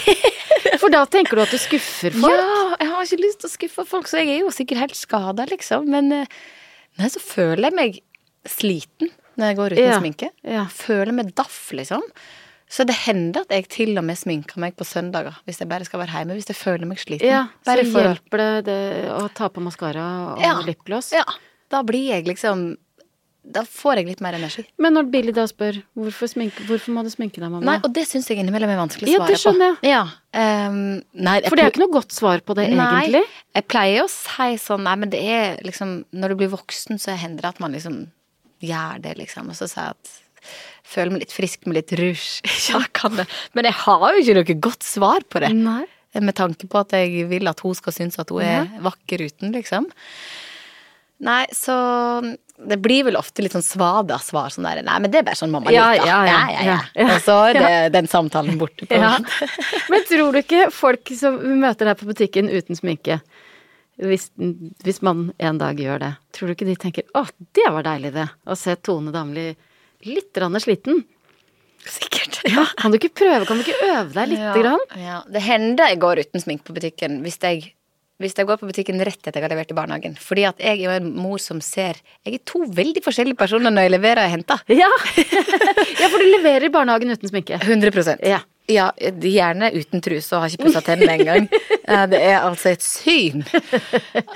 For da tenker du at du skuffer folk? Ja, jeg har ikke lyst til å skuffe folk, så jeg er jo sikkert helt skada, liksom. Men eh, nei, så føler jeg meg sliten når jeg går uten Ja, sminke. ja. Føler meg daff, liksom. Så det hender at jeg til og med sminker meg på søndager, hvis jeg bare skal være hjemme. Hvis jeg føler meg sliten. Ja, bare så for å- hjelper det, det å ta på maskara og Ja, lipgloss. Ja. Da blir jeg liksom Da får jeg litt mer energi. Men når Billy da spør hvorfor, sminke, hvorfor må du sminke deg, mamma? Nei, og det syns jeg innimellom er vanskelig å Ja, svare det skjønner på. Ja, ehm, nei, jeg For det er ikke noe godt svar på det, egentlig. Nei, jeg pleier å si sånn Nei, men det er liksom Når du blir voksen, så hender det at man liksom gjør det, liksom. Og så sier jeg at Føler meg litt frisk med litt rouge. Ja, kan det. Men jeg har jo ikke noe godt svar på det. Nei. Med tanke på at jeg vil at hun skal synes at hun er vakker uten, liksom. Nei, så det blir vel ofte litt sånn svada-svar. Sånn der, nei, men det er bare sånn mamma Ja, liker. ja, ja, ja, ja. ja. Og så er det, den samtalen borte. På en Ja. måte. Men tror du ikke folk som møter deg på butikken uten sminke, hvis, hvis man en dag gjør det, tror du ikke de tenker 'Å, det var deilig, det', å se Tone Damli litt grann sliten? Sikkert. Kan du ikke prøve, kan du ikke øve deg lite grann? Ja. Det hender jeg går uten sminke på butikken hvis jeg, hvis jeg går på butikken rett etter jeg har levert i barnehagen. Fordi at jeg er jo en mor som ser Jeg er to veldig forskjellige personer når jeg leverer og henter. Ja. ja, for du leverer i barnehagen uten sminke. 100 Ja. Ja, gjerne uten truse og har ikke pussa tennene engang. Eh, Det er altså et syn.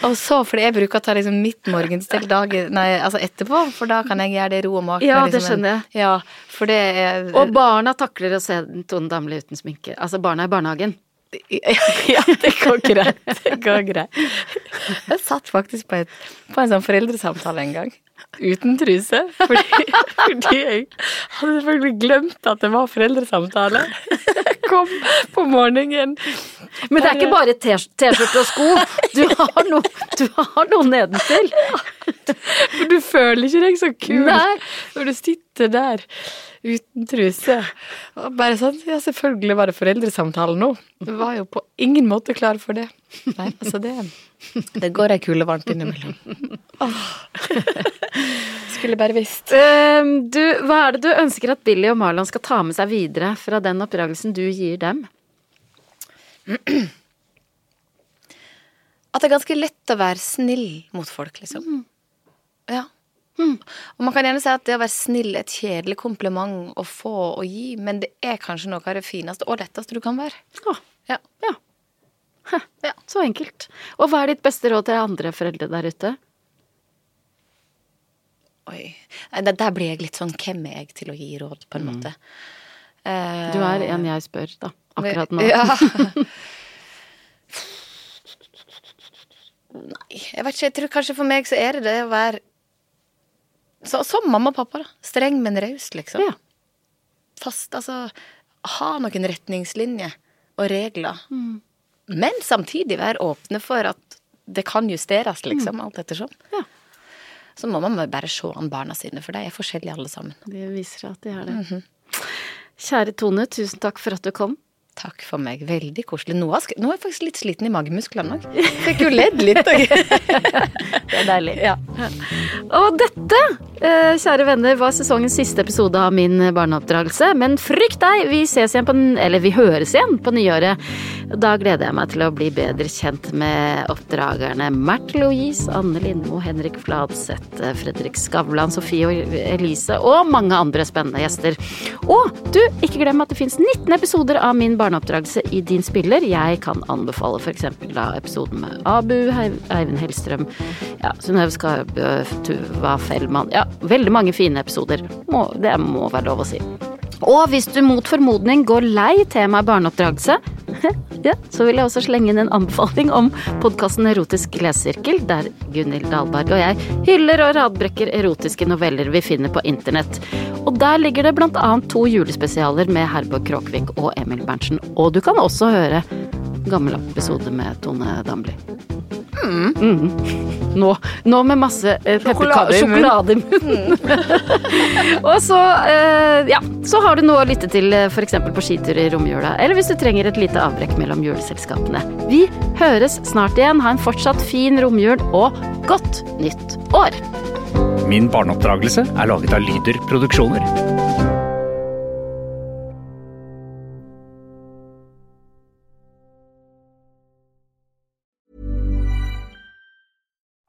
Og så, fordi jeg bruker å ta liksom mitt morgenstell dagen Nei, altså etterpå, for da kan jeg gjøre det i ro og mak. Ja, med det liksom en- skjønner Ja, for det er Og barna takler å se Tone Damli uten sminke. Altså barna i barnehagen. Ja, det går greit. Det går greit. Jeg satt faktisk på, et, på en sånn foreldresamtale en gang. Uten truse. Fordi, fordi jeg hadde selvfølgelig glemt at det var foreldresamtale. Jeg kom på morgenen. Men det er ikke bare T-sk- T-skjorte og sko. Du har, no, du har noe nedentil. For du føler ikke deg så kul Nei. når du sitter der uten truse. Og bare sånn, ja selvfølgelig var det foreldresamtale nå. Du var jo på ingen måte klar for det. Nei, altså det Det går ei kule varmt innimellom. Skulle bare visst. Ehm, du, hva er det du ønsker at Billy og Marlon skal ta med seg videre fra den oppdragelsen du gir dem? At det er ganske lett å være snill mot folk, liksom. Ja. Og man kan gjerne si at det å være snill er et kjedelig kompliment å få og gi, men det er kanskje noe av det fineste og letteste du kan være. Å, Ja. ja. Hæ, Ja. Så enkelt. Og hva er ditt beste råd til andre foreldre der ute? Oi. Nei, Der, der blir jeg litt sånn Hvem er jeg til å gi råd, på en måte? Eh, Mm. Du er en jeg spør, da. Akkurat nå. Ja. Nei, jeg vet ikke. Jeg tror kanskje for meg så er det det å være så, Som mamma og pappa, da. Streng, men raus, liksom. Ja. Fast, altså Ha noen retningslinjer og regler. Mm. Men samtidig være åpne for at det kan justeres, Mm. liksom, alt ettersom. Ja. Så må man bare se an barna sine, for de er forskjellige alle sammen. Det viser at de er det. Mhm. Kjære Tone, tusen takk for at du kom. Takk for meg. Veldig koselig. Nå er sk- nå er jeg faktisk litt sliten i magemusklene òg. Fikk jo ledd litt. og- Det er deilig. Og dette Eh, kjære venner, var sesongens siste episode av Min barneoppdragelse. Men frykt deg, vi ses igjen på den, eller vi høres igjen på nyåret. Da gleder jeg meg til å bli bedre kjent med oppdragerne Märtha Louise, Anne Lindmo, Henrik Fladseth, Fredrik Skavlan, Sofie og Elise og mange andre spennende gjester. Og du, ikke glem at det fins 19 episoder av Min barneoppdragelse i din spiller. Jeg kan anbefale f.eks. da episoden med Abu, Heiv- Eivind Hellstrøm, ja, Synnøve Skarbø, Tuva Fellmann Ja, veldig mange fine episoder. Må, det må være lov å si. Og hvis du mot formodning går lei temaet barneoppdragelse, ja, så vil jeg også slenge inn en anbefaling om podkasten Erotisk lesesirkel, der Gunhild Dahlberg og jeg hyller og radbrekker erotiske noveller vi finner på internett. Og der ligger det blant annet to julespesialer med Herborg Kråkvik og Emil Berntsen. Og du kan også høre gammel episode med Tone Damli. Mhm. Nå, nå med masse eh, Mm. Sjokolade pepperkaker- i munnen. sjokolade i munnen. Og så, eh, ja, så har du noe å lytte til eh, for eksempel på skitur i romjula, eller hvis du trenger et lite avbrekk mellom juleselskapene. Vi høres snart igjen. Ha en fortsatt fin romjul og godt nytt år! Min barneoppdragelse er laget av Lyder Produksjoner.